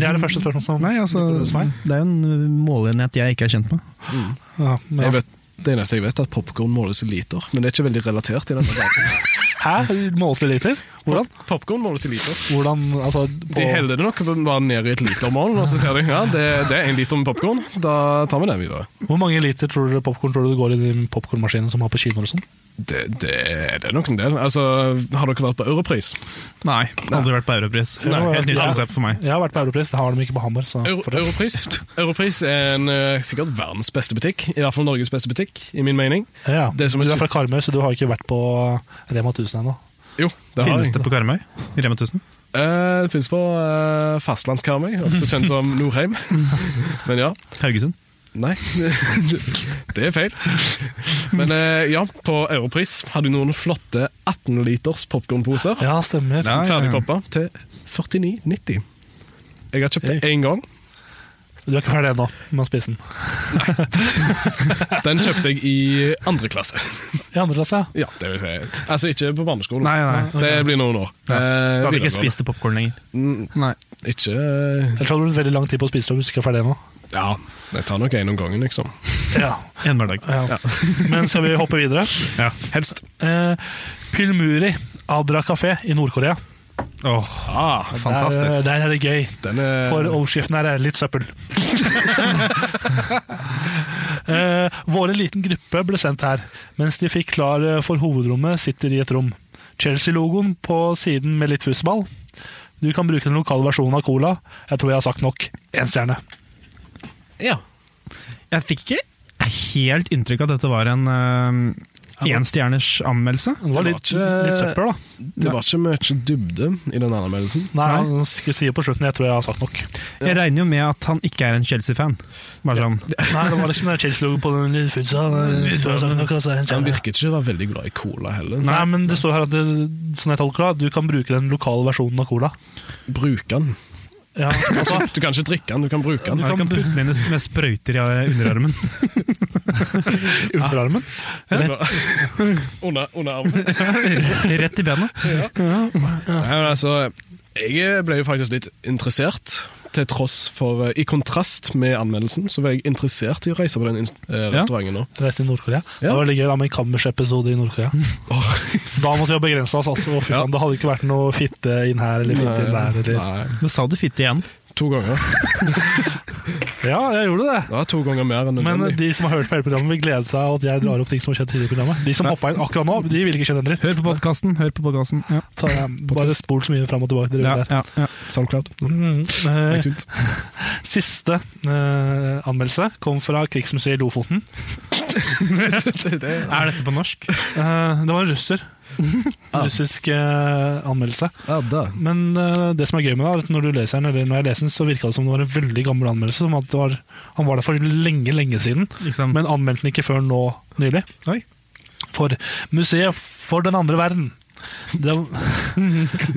Det er det første spørsmålet som Nei, altså, dukker opp hos meg. det er jo en måleenhet jeg ikke er kjent med. Ja, men, Jeg vet, det eneste jeg vet, er at popkorn måles i liter, men det er ikke veldig relatert til denne saken. Hæ? Måles det i liter? Hvordan? Popkorn måles i liter. Hvordan, altså, på, De heller det nok bare ned i et litermål, og så ser de ja, det, det er en liter med popkorn. Da tar vi det videre. hvor mange liter tror dere popcorn tror du det går i de popcornmaskinene som har på kinoer og sånn? Det, det, det er nok en del. Altså, Har dere vært på Europris? Nei, aldri vært på Europris. Nei, Helt nytt ja. konsept for meg. Jeg har vært på Europris, det har de ikke på Hamar. Så, Euro, Europris Europris er en, eh, sikkert verdens beste butikk. I hvert fall Norges beste butikk, i min mening. ja, Det som du er er fra Karmøy, så du har ikke vært på Rema 1000 ennå. Jo, det har Finnes jeg. det på Karmøy? Rema 1000? Eh, det finnes på uh, fastlandskarmøy, også kjent som Norheim. Men ja. Haugesund? Nei, det er feil. Men eh, ja, på Europris hadde vi noen flotte 18-liters popkornposer. Ja, stemmer. Ja, ja, ja. Ferdigpoppa til 49,90. Jeg har kjøpt det én gang. Du er ikke ferdig ennå med å spise den. Den kjøpte jeg i andre klasse. I andre klasse, ja. Ja, det vil si. Altså ikke på barneskolen. Nei, nei. Det blir noen år. Ja. Du Eh, hadde ikke videregående. spist popkorn lenger? Nei. Ikke eh, Ellers hadde det blitt veldig lang tid på å spise det om du ikke er ferdig ennå. Ja, det tar nok én om gangen, liksom. Ja, En hverdag. ja. Men skal vi hoppe videre? Ja. Helst. Eh, Pylmuri Adra kafé i Nord-Korea. Ah, Der, eh, fantastisk. der er det gøy. Den er For overskriften her er 'litt søppel'. eh, vår liten gruppe ble sendt her, mens de fikk klar eh, for hovedrommet, sitter i et rom. Chelsea-logoen på siden med litt fussball. Du kan bruke den lokale versjonen av cola. Jeg tror jeg har sagt nok. Én stjerne. Ja. Jeg fikk ikke helt inntrykk av at dette var en eh, enstjerners anmeldelse. Det var Det var litt, eh, ikke- litt søppel, da. Det var ikke mye dybde i den anmeldelsen. Nei, han skal si på slutten 'jeg tror jeg har sagt nok'. Jeg regner jo med at han ikke er en Chelsea-fan. Bare sånn. Nei, det var liksom den Chelsea-logoen på den lille fussa. Jeg tror jeg har sagt nok, altså, en Han stjerne. virket ikke å være veldig glad i cola heller. Nei, men det står her at det, sånn jeg tolker det, du kan bruke den lokale versjonen av cola. Bruk den. Ja, altså, Du kan ikke drikke den, du kan bruke Du den. kan, putte den inn med sprøyter i eh, underarmen. Ultraarmen. under, under armen. Rett i benet. Nei, men altså, jeg ble jo faktisk litt interessert, til tross for eh, I kontrast med anmeldelsen, så var jeg interessert i å reise på den inst- eh, restauranten nå. reiste til Nord-Korea. Det Ja. Mm. var veldig gøy da med en Kammers-episode i Nord-Korea. Da måtte vi ha begrensa oss. altså, fy faen, Det hadde ikke vært noe fitte inn her eller fitte inn der. Eller. Nei, Nå sa du fitte igjen. to ganger. Ja, jeg gjorde det. Det var to ganger mer enn Men nødvendig. de som har hørt på hele programmet, vil glede seg av at jeg drar opp ting som har skjedd tidligere i programmet. De som hoppa inn akkurat nå, de vil ikke skjønne en dritt. Hør på podkasten. Hør på podkasten. Ja. Ta, eh, bare spol så mye fram og tilbake. Dere Ja, der. ja, ja. Soundcloud. Mm, eh, iTunes. siste eh, anmeldelse kom fra Krigsmuseet i Lofoten. Er dette på norsk? Eh, det var en russer. Russisk eh, anmeldelse. Ja, da. Men eh, det som er gøy med det, er at når du leser den, eller når jeg leser den, så virka det som det var en veldig gammel anmeldelse. Som at det var, han var der for lenge, lenge siden, Liksom. men anmeldte den ikke før nå nylig. Oi. For Museet for den andre verden. Det, det, var,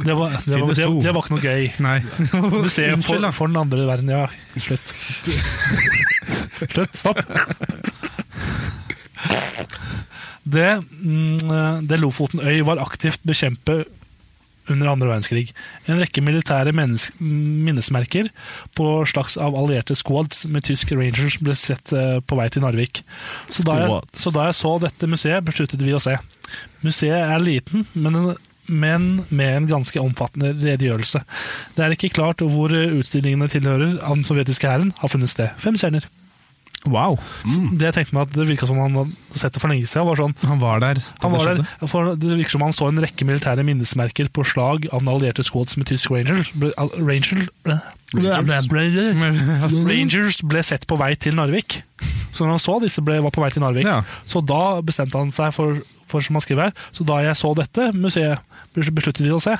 det, var, Finnes det, to. det var ikke noe gøy. Nei. Museet Unnskyld, for, da. for den andre verden, ja. Slutt. Slutt. Stopp. Det, mm, det Lofoten øy var aktivt bekjempe under andre verdenskrig. En rekke militære mennesk, minnesmerker på slags av allierte squads med tysk rangers ble sett eh, på vei til Narvik. Så da, jeg, Squads. så da jeg så dette museet, besluttet vi å se. Museet er liten, men, men med en ganske omfattende redegjørelse. Det er ikke klart hvor utstillingene tilhører av den sovjetiske hæren har funnet sted. Fem stjerner. Wow. Det jeg tenkte meg at det virka som han hadde sett det for lenge siden. var sånn, Han var der. da han det var skjedde. der, for det virker som han så en rekke militære minnesmerker på slag av den allierte squads med tysk rangers. Ble, al- Rangers, Rangers. Rangers. Rangers ble sett på vei til Narvik. Så når han så disse ble, var på vei til Narvik, Ja. så da bestemte han seg for, for som han skriver her, så da jeg så dette museet, bes- besluttet vi å se.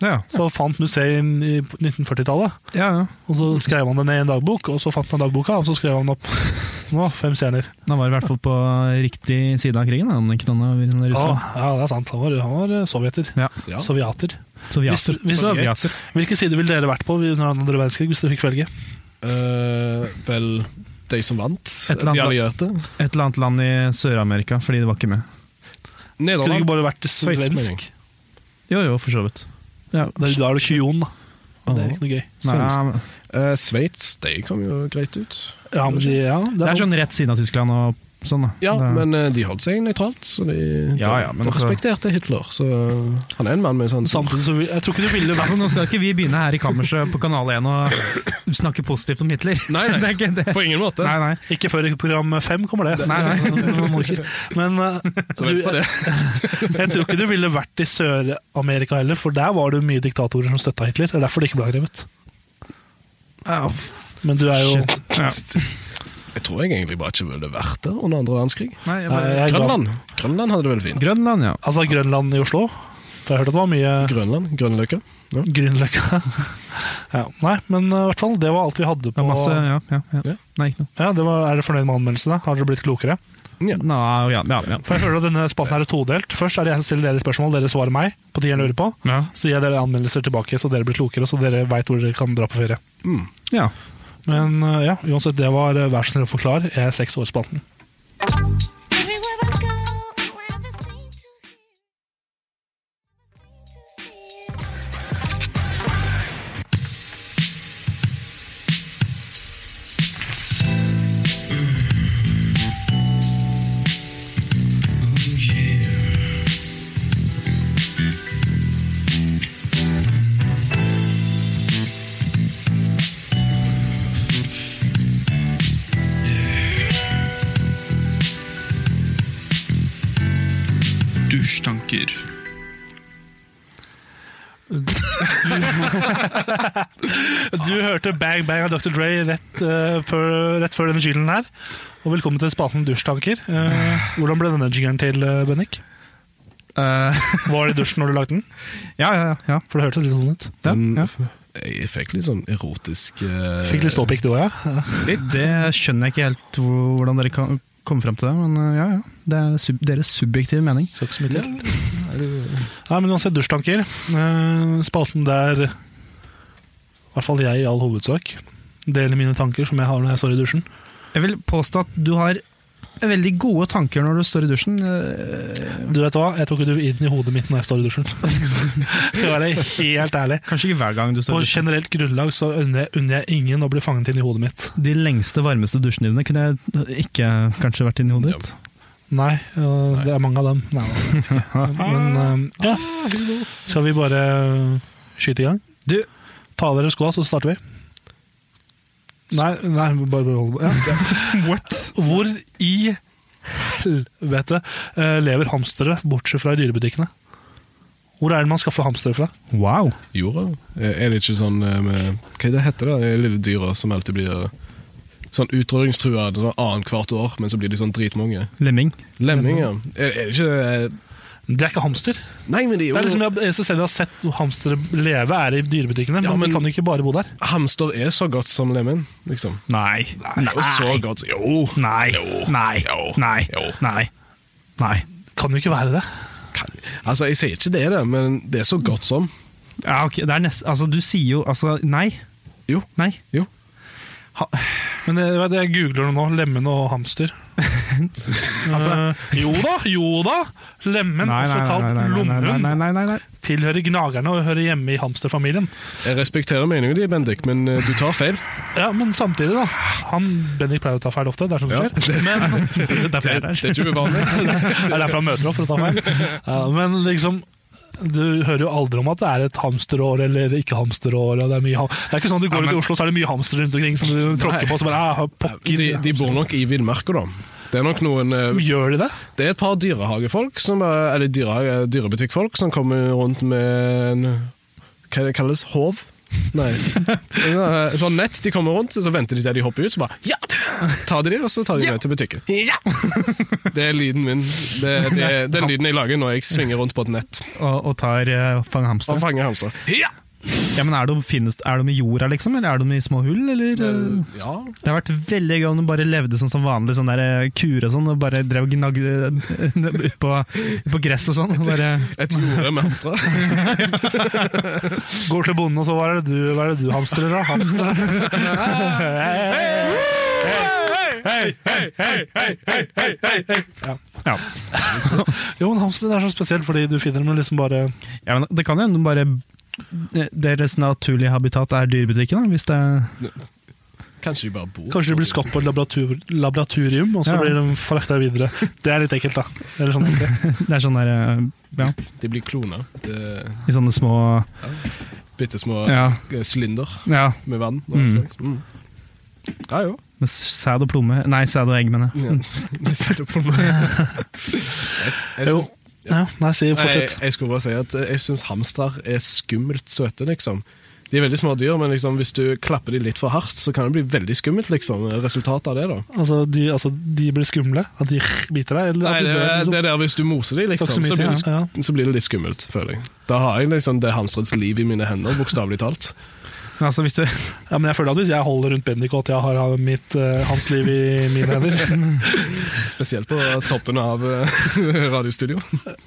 Ja, Så fant museet inn i 1940-tallet, ja, ja. og så skrev han det ned i en dagbok, og så fant han dagboka, og så skrev han opp nå, fem stjerner. Han var i hvert fall på riktig side av krigen, da, om ikke noen av russerne. Ja, ja, det er sant. Han var, han var sovjeter. Ja. Ja. Soviater. Soviater. Hvis- hvis- Soviater. Hvilke sider ville dere vært på under andre verdenskrig hvis dere fikk velge? Eh, vel de som vant. Et eller annet- De allierte. Et eller annet land i Sør-Amerika, fordi det var ikke med. Kunne det Nederland. ikke bare vært Sveits, svensk? mening. Jo, jo, for så vidt. Ja. Da er da er det kyon, da. Det er ikke noe gøy. Svensk. Nei, Eh, Sveits, de kom jo greit ut. Ja, men de, ja, det det er er sånn sånn rett siden av Tyskland og sånn, da. Ja, det, men eh, de holdt seg nøytralt, så de, Ja, de- ja, men de altså- Sånn- respekterte Hitler. Så han er en mann med sånn- sans. Samtidig så vi- Jeg tror ikke det ville vært Altså, nå skal ikke vi begynne her i kammerset på Kanal 1 og snakke positivt om Hitler. Nei, nei. det er ikke det. På ingen måte. Nei, nei. Ikke før i program fem kommer det. Nei, nei. Man må ikke- Men eh, Så vel på du, det. jeg tror ikke du ville vært i Sør-Amerika heller, for der var det jo mye diktatorer som støtta Hitler. Det er derfor det ikke ble angrepet. Men du er jo Shit. Ja. Jeg tror jeg egentlig bare ikke ville vært der under andre verdenskrig. Nei, jeg Nei, bare... jeg er glad- Grønland Grønland hadde det veldig fint. Grønland, ja. Altså Grønland i Oslo. For jeg hørte at det var mye Grønland, Grønløkka. Grünerløkka. ja. Nei, men eh, i hvert fall, det var alt vi hadde Det på er masse Ja, ja. ja. Ja. Nei, ikke noe. ja, det var, Er du fornøyd med anmeldelsene? Har dere blitt klokere? Nei, ja, ja, ja. For jeg føler at denne spalten her er todelt. Først er det jeg som stiller dere spørsmål, dere svarer meg på de jeg lurer på. Ja. Så gir jeg dere anmeldelser tilbake, så dere blir klokere, så dere veit hvor dere kan dra på ferie. ja. Men eh, ja, uansett, det var eh, Vær så snill å forklare, jeg er seks år spalten. Dusjtanker. Du hørte Bang Bang av Dr. Dre rett, eh, før, rett før denne jinglen her. Og velkommen til spalten Dusjtanker. Eh, hvordan ble denne jingelen til, eh, Bennik? Eh, Var det i dusjen når du lagde den? ja, ja, ja. For det hørtes litt sånn ut. ja, ja. Mm. Jeg fikk litt sånn erotisk eh, Fikk litt ståpikk du òg, ja. Det skjønner jeg ikke helt hvor- hvordan dere kan komme fram til det, men eh, ja, ja. Det er sub deres subjektive mening. Skal ikke så mye til. Nei, men uansett, dusjtanker. Eh, Spalten der I hvert fall jeg, i all hovedsak. Deler mine tanker som jeg har når jeg står i dusjen. Jeg vil påstå at du har veldig gode tanker når du står i dusjen. eh, Du vet hva, jeg tror ikke du vil inn i hodet mitt når jeg står i dusjen. Skal jeg være helt ærlig. Kanskje ikke hver gang du På står i dusjen. generelt grunnlag så unner jeg, unner jeg ingen å bli fanget inn i hodet mitt. De lengste, varmeste dusjene dine kunne jeg ikke kanskje vært inni hodet ditt. Nei, øh, det er mange av dem. Nei, det vet jeg ikke. Ah, men øh, ja. Skal vi bare skyte i gang? Du. Ta av dere skoa, så starter vi. Nei, nei bare behold ja. Hvor i helvete øh, lever hamstere, bortsett fra i dyrebutikkene? Hvor er det man skaffer hamstere fra? Wow! jorda. Er det ikke sånn eh, med Hva er det heter det, de lille dyra som alltid blir eh, sånn utrydningstrua sånn annethvert år, men så blir de sånn dritmange? Lemming. Lemminger. Er, er det ikke eh, Det er ikke hamster. Nei, men de Det er er jo liksom jeg- Det eneste stedet jeg har sett hamstere leve, er i dyrebutikkene. Ja, men, men- de kan jo ikke bare bo der. Hamster er så godt som lemmen, liksom. Nei. Det er jo så godt. Jo, Nei. Nei. Nei. Nei. Nei. Kan jo ikke være det. kan Altså, jeg sier ikke det, det, men det er så godt som. Ja, ok, det er nest, altså, du sier jo altså nei. Jo. Nei. Jo. Men jeg, jeg googler det nå. Lemen og hamster. Eh, jo da, jo da! Lemen, nei, også nei, kalt nei, nei, nei, nei, lomhund, nei, nei, nei. tilhører gnagerne og hører hjemme i hamsterfamilien. Jeg respekterer meningen din, Bendik, men eh, du tar feil. Ja, Men samtidig, da. Han Bendik pleier å ta feil ofte, det er sånn det skjer. Det er Det, flere det der. er ikke uvanlig. Det er derfor han møter opp for å ta feil. Ja, men liksom du hører jo aldri om at det er et hamsterår eller ikke hamsterår. Og det, er mye ham det er ikke sånn at du går ut i Oslo så er det mye hamstere rundt omkring som du tråkker på. Så bare, ah, pokker, De, de bor nok i villmarka, da. Det er nok noen eh, Gjør de det? Det er et par dyrehagefolk, som, eh, eller dyrehage, dyrebutikkfolk, som kommer rundt med en Hva det kalles Håv? Nei. Eh, Sånn nett. De kommer rundt, så venter de til de hopper ut, så bare ja! Tar de de, og så tar de med til butikken. Det er lyden min. Det, det er den lyden jeg lager når jeg svinger rundt på et nett Og, og tar uh, fang og hamster. fanger hamstere. Ja, men er de, finnes, er de i jorda, liksom? Eller er de i små hull? Eller? eh? Ja. Det har vært veldig gøy om de bare levde sånn som vanlig, sånn der eh, kur og sånn, og bare drev og gnagde eh, ut på, ut på gress og sånn. og Bare, Et jorde med hamstere. Går til bonden, og så hva er det du, hva er det du hamstrer da? Hamster. Hei, hei, hei. hei, hei, hei, hei, hei, hei, hei, hei. Ja. Jo, men hamstere det er så spesielt, fordi du finner dem liksom bare Ja, men det kan jo hende de bare Deres naturlige habitat er dyrebutikken, da, hvis det er Kanskje de bare bor Kanskje de blir skapt på et laborator laboratorium, og så Ja. blir de frakta videre. Det er litt ekkelt, da. Eller sånn, egentlig. Det er sånn der eh, Ja, De blir kloner. i sånne små Bitte små Ja. sylinder ja med vann. Og Mm. mm. Mm. Ja jo. med sæd og plomme Nei, sæd og egg, mener jeg. Ja. Det setter på meg. Jeg, jeg, Jo. syns- Ja, nei, si Nei, jeg, fortsett. jeg skulle bare si at eh, jeg syns hamstrer er skummelt søte, liksom. De er veldig små dyr, men liksom, hvis du klapper de litt for hardt, så kan det bli veldig skummelt, liksom. Resultatet av det, da. Altså, de, altså, de blir skumle? At de biter deg? Eller Nei, at de det, dør, er- liksom? det er der hvis du moser de, liksom, så Saksomitet, blir, det- ja. så blir det litt skummelt, føler jeg. Da har jeg liksom det hamstrets liv i mine hender, bokstavelig talt. Men Altså, hvis du Ja, men jeg føler at Hvis jeg holder rundt Bendik, og at jeg har han- mitt, eh, hans liv i mine hender Spesielt på toppen av eh, radiostudio.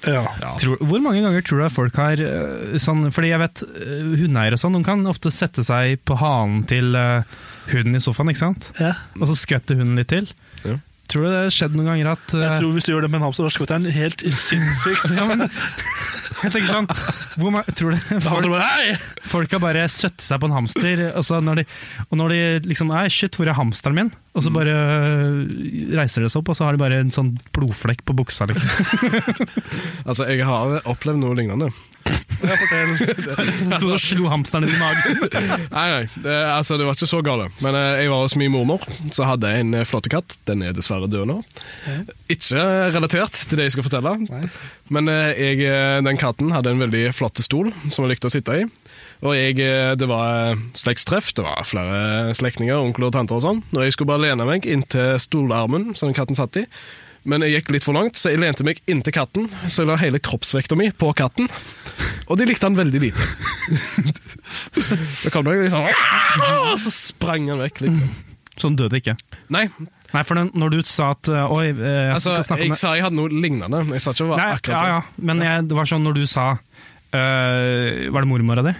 ja. tror, Hvor mange ganger tror du at folk har eh, sånn Fordi jeg vet eh, hundeeiere og sånn, de kan ofte sette seg på hanen til eh, hunden i sofaen, ikke sant? Ja. Og så skvetter hunden litt til. Ja. Tror du det har skjedd noen ganger at eh, Jeg tror Hvis du gjør det med en hamster, da skvetter den helt sinnssykt. ja, men, Jeg tenker sånn hvor ma- Tror du Da handler det folk, bare, hei! folk har bare søtt seg på en hamster, og, så når de, og når de liksom Nei, shit, hvor er hamsteren min? Og så Mm. bare eh, reiser de seg opp, og så har de bare en sånn blodflekk på buksa. Liksom. Altså, jeg har opplevd noe lignende. Så du slo hamsteren din i magen. Nei, nei, det, altså, det var ikke så gale. Men eh, jeg var hos min mormor, så hadde jeg en eh, flottekatt. Den er dessverre død nå. Ikke relatert til det jeg skal fortelle, men eh, jeg, eh, den katten hadde en veldig flott stol som jeg likte å sitte i. Og jeg, eh, det var eh, slektstreff, det var flere eh, slektninger, onkler og tanter og sånn. Og jeg skulle bare lene meg inntil stolarmen som katten satt i. Men jeg gikk litt for langt, så jeg lente meg inntil katten. Så jeg la hele kroppsvekta mi på katten, og de likte han veldig lite. Da kom det liksom Og så sprang han vekk, liksom. Så den døde ikke. Nei, Nei, for den, når du sa at eh, Oi, eh, jeg altså, skal snakke om jeg det. sa jeg hadde noe lignende. Jeg sa ikke hva Nei, ja, akkurat ja, sånn. men jeg, det var sånn når du sa eh, Var det mormora di?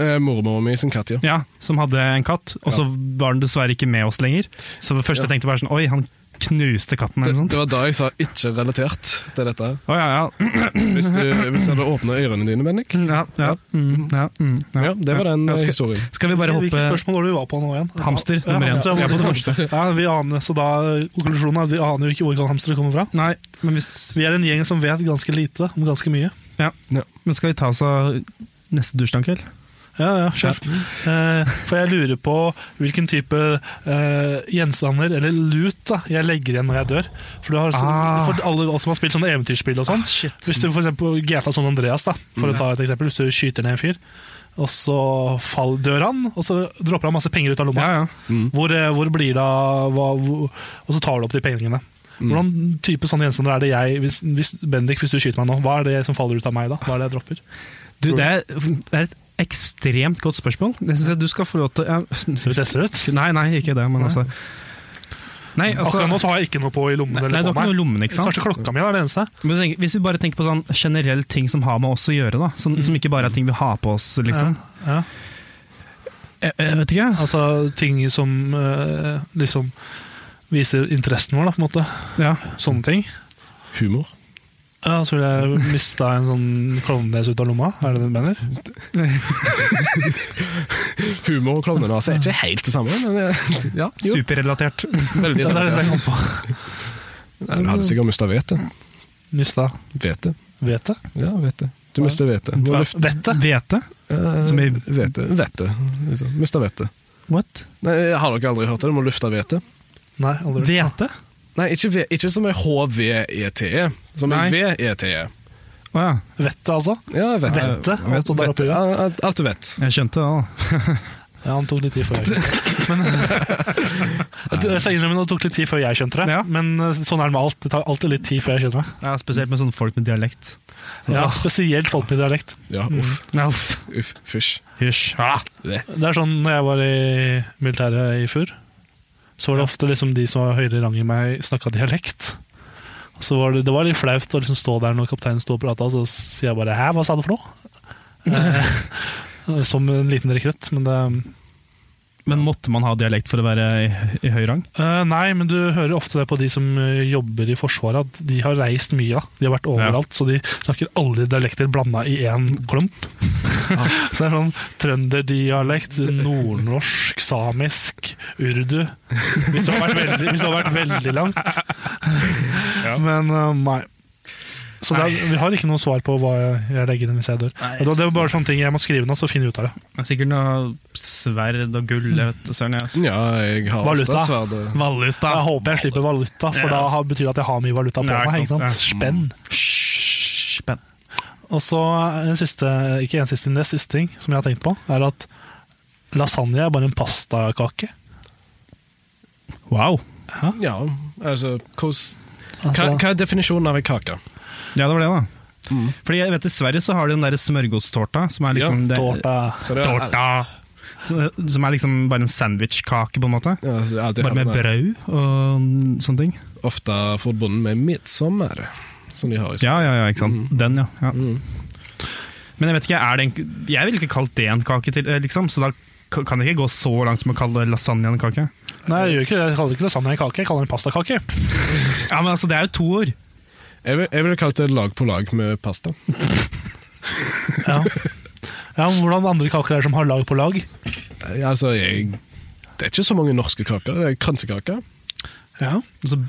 Eh, Mormor mi sin katt, ja. Ja, som hadde en katt, og så var den dessverre ikke med oss lenger. Så det første jeg tenkte var sånn Oi, han knuste katten, Det, eller noe det sånt. var da jeg sa 'ikke relatert' til dette. Å, ja, ja. Hvis du, hvis du hadde åpna ørene dine, Bennik. Ja, ja, mm, ja, mm, ja. Ja, det var den Ja, eh, skal, historien. skal vi bare Hvilke hoppe spørsmål var det vi var på nå igjen? Hamster, ja, nummer én. hamster, Vi er på det Ja, vi aner, så da, konklusjonen er at vi aner jo ikke hvor hamstere kommer fra. Nei, men, hvis, Vi er en gjeng som vet ganske lite om ganske mye. men skal vi ta oss av neste dusjtankel? Ja, ja, kjør. Eh, for jeg lurer på hvilken type eh, gjenstander, eller lut, da, jeg legger igjen når jeg dør. For, du har, så, Ah. for alle oss som har spilt sånne eventyrspill og sånn. hvis du for eksempel GTA San Andreas, da, Mm. for å ta et eksempel. Hvis du skyter ned en fyr, og så fall, dør han, og så dropper han masse penger ut av lomma. Ja, ja. Mm. Hvor, eh, hvor blir det av hva, hvor, Og så tar du opp de pengene. Mm. Hvordan type sånne gjenstander er det jeg hvis, hvis, Bendik, hvis du skyter meg nå, hva er det som faller ut av meg da? Hva er det jeg dropper? Du, Tror det er, det er et ekstremt godt spørsmål. Det syns jeg du skal få lov til ja. Skal vi teste det ut? Nei, nei, ikke det, men altså Nei, altså Akkurat nå så har jeg ikke noe på i lommen. Nei, Eller du har på ikke noe i meg. lommen, ikke sant? Kanskje klokka mi er det eneste. Men tenk, hvis vi bare tenker på sånn generelle ting som har med oss å gjøre, da. Som, som ikke bare er ting vi har på oss, liksom. Mm. Ja, ja. Jeg, jeg vet ikke. Altså ting som eh, liksom viser interessen vår, da, på en måte. Ja. Sånne ting. Humor. Ja, så vil jeg miste en sånn klovnenes ut av lomma. Er det det du mener? Humor og klovnenase er ikke helt det samme, men eh, ja, jo. Superrelatert. Veldig Ja, det er det jeg relatert. kom på. Nei, Du hadde sikkert mista vettet. Mista Vete. vete. Ja, vete. Du mister vete. Du har luft- Vette? Hvete? eh, Som i- Vete. Vete. Liksom. Mista vete. What? Nei, har dere aldri hørt det? Du må lufte vete. Nei, aldri. Hvete? Nei, ikke, ve- ikke som er HVETE, E, som Nei. er VETE. Å ja, Vette, altså. E. Ja, jeg vet det. Vette. Alt det der Vet du, oppe. ja, alt- alt du vet. jeg skjønte det. da. Ja, han tok litt tid før jeg men, Jeg skal innrømme at det tok litt tid før jeg skjønte det. Ja. Men eh, sånn er det med alt. Det tar alltid litt tid før jeg skjønner det. Ja, spesielt med sånne folk med dialekt. Ja, spesielt folk med dialekt. Ja, uff, Ja, uff. uff, fysj. Hysj. Ah. Det er sånn når jeg var i militæret i fjor, så var det ofte liksom de som var høyere i rang i meg, snakka dialekt. Og Så var det, det var litt flaut å liksom stå der når kapteinen sto og prata, så sier jeg bare 'hæ, hva sa du for noe?' Eh, Som en liten rekrutt, men det Men måtte man ha dialekt for å være i, i høy rang? Eh, nei, men du hører ofte det på de som eh, jobber i Forsvaret, at de har reist mye. da. De har vært overalt, så de snakker alle dialekter blanda i én klump. så det er sånn trønderdialekt, nordnorsk, samisk, urdu Hvis det har vært veldig, hvis det har vært veldig langt. Men eh, nei. Så det er, vi har ikke noe svar på hva jeg legger inn hvis jeg dør. Og da- det er bare sånne ting jeg må skrive ned, så finner vi ut av det. Det er Sikkert noe sverd og gull, jeg vet du søren. jeg. Ja, jeg har Valuta. ofte sverd. og- Valuta. Jeg håper jeg slipper valuta, for Ja. da har- betyr det at jeg har mye valuta på Ja, ikke meg. Ikke sant? sant? Spenn. Spenn. Og så en siste, ikke en siste, men det er siste ting som jeg har tenkt på, er at lasagne er bare en pastakake. Wow. Ja, altså hvordan- hva, Altså, hva er definisjonen av en kake? Ja, det var det, da. Mm. Fordi jeg vet I Sverige så har de den der smørgåstårta, som er liksom det, tårta. Så det er- Tårta! Som- Som er liksom bare en sandwichkake, på en måte. Ja, altså, jeg har alltid Bare hatt med den der. brød og mm, sånne ting. Ofte forbundet med midtsommer, som de har i Sverige. Ja, ja, ja, ikke sant. Den, ja. ja. Men jeg vet ikke, er det en, jeg ville ikke kalt det en kake, til, eh, liksom, så da ka- kan det ikke gå så langt som å kalle lasagne en kake. Nei, jeg, gjør ikke, det. jeg kaller det ikke lasagne en kake, jeg kaller det en pastakake. Ja, men altså, Det er jo to ord. Jeg, vil, jeg ville kalt det lag på lag med pasta. Ja. ja, men Hvordan andre kaker er som har lag på lag? Eh, Altså, jeg, det er ikke så mange norske kaker. Det er kransekake. Ja, Altså,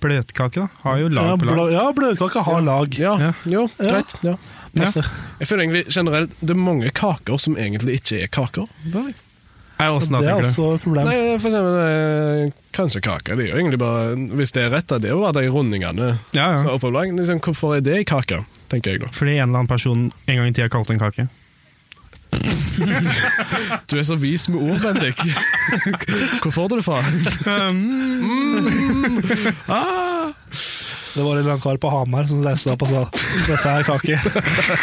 Bløtkake da, har jo lag på blø, lag. ja bløtkake har lag. Ja, Ja. Jo, Ja. greit. Ja. Pasta. Jeg føler egentlig generelt det er mange kaker som egentlig ikke er kaker. føler jeg. Er jo åssen da, Det er tenker du? også et problem. Nei, for eksempel eh, kransekake. Det er jo egentlig bare, hvis det er rett, da, det er jo bare de rundingene Ja, som ja. er oppover lang. Liksom, hvorfor er det en kake, tenker jeg da. Fordi en eller annen person en gang i tida kalte en kake. Du er så vis med ord, Bendik. Hvor får du det fra? Det var en eller annen kar på Hamar som reiste seg opp og sa dette er kake.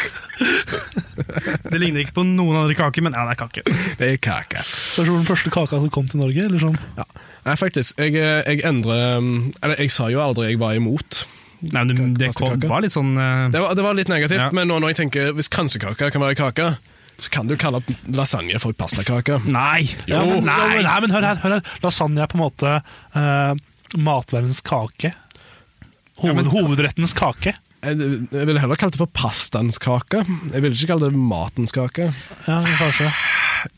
Det ligner ikke på noen andre kaker, men ja, det er kake. Det er kake. Det var den første kaka som kom til Norge. Eller sånn. Nei, faktisk. Jeg, eh, jeg endrer mm, Eller, jeg sa jo aldri jeg var imot. Nei, men det kom, Kake. var litt sånn eh, Det var, det var litt negativt, Ja. men nå når jeg tenker hvis kransekake kan være kake, så kan du kalle lasagne for pastakake. Nei! Ja, men, nei. ja, men, nei, men hør her, hør her. Lasagne er på en måte eh, matvarens kake. Hoved, hovedrettens kake. Jeg, jeg ville heller kalt det for pastaens kake. Jeg ville ikke kalle det matens kake. Ja, kanskje.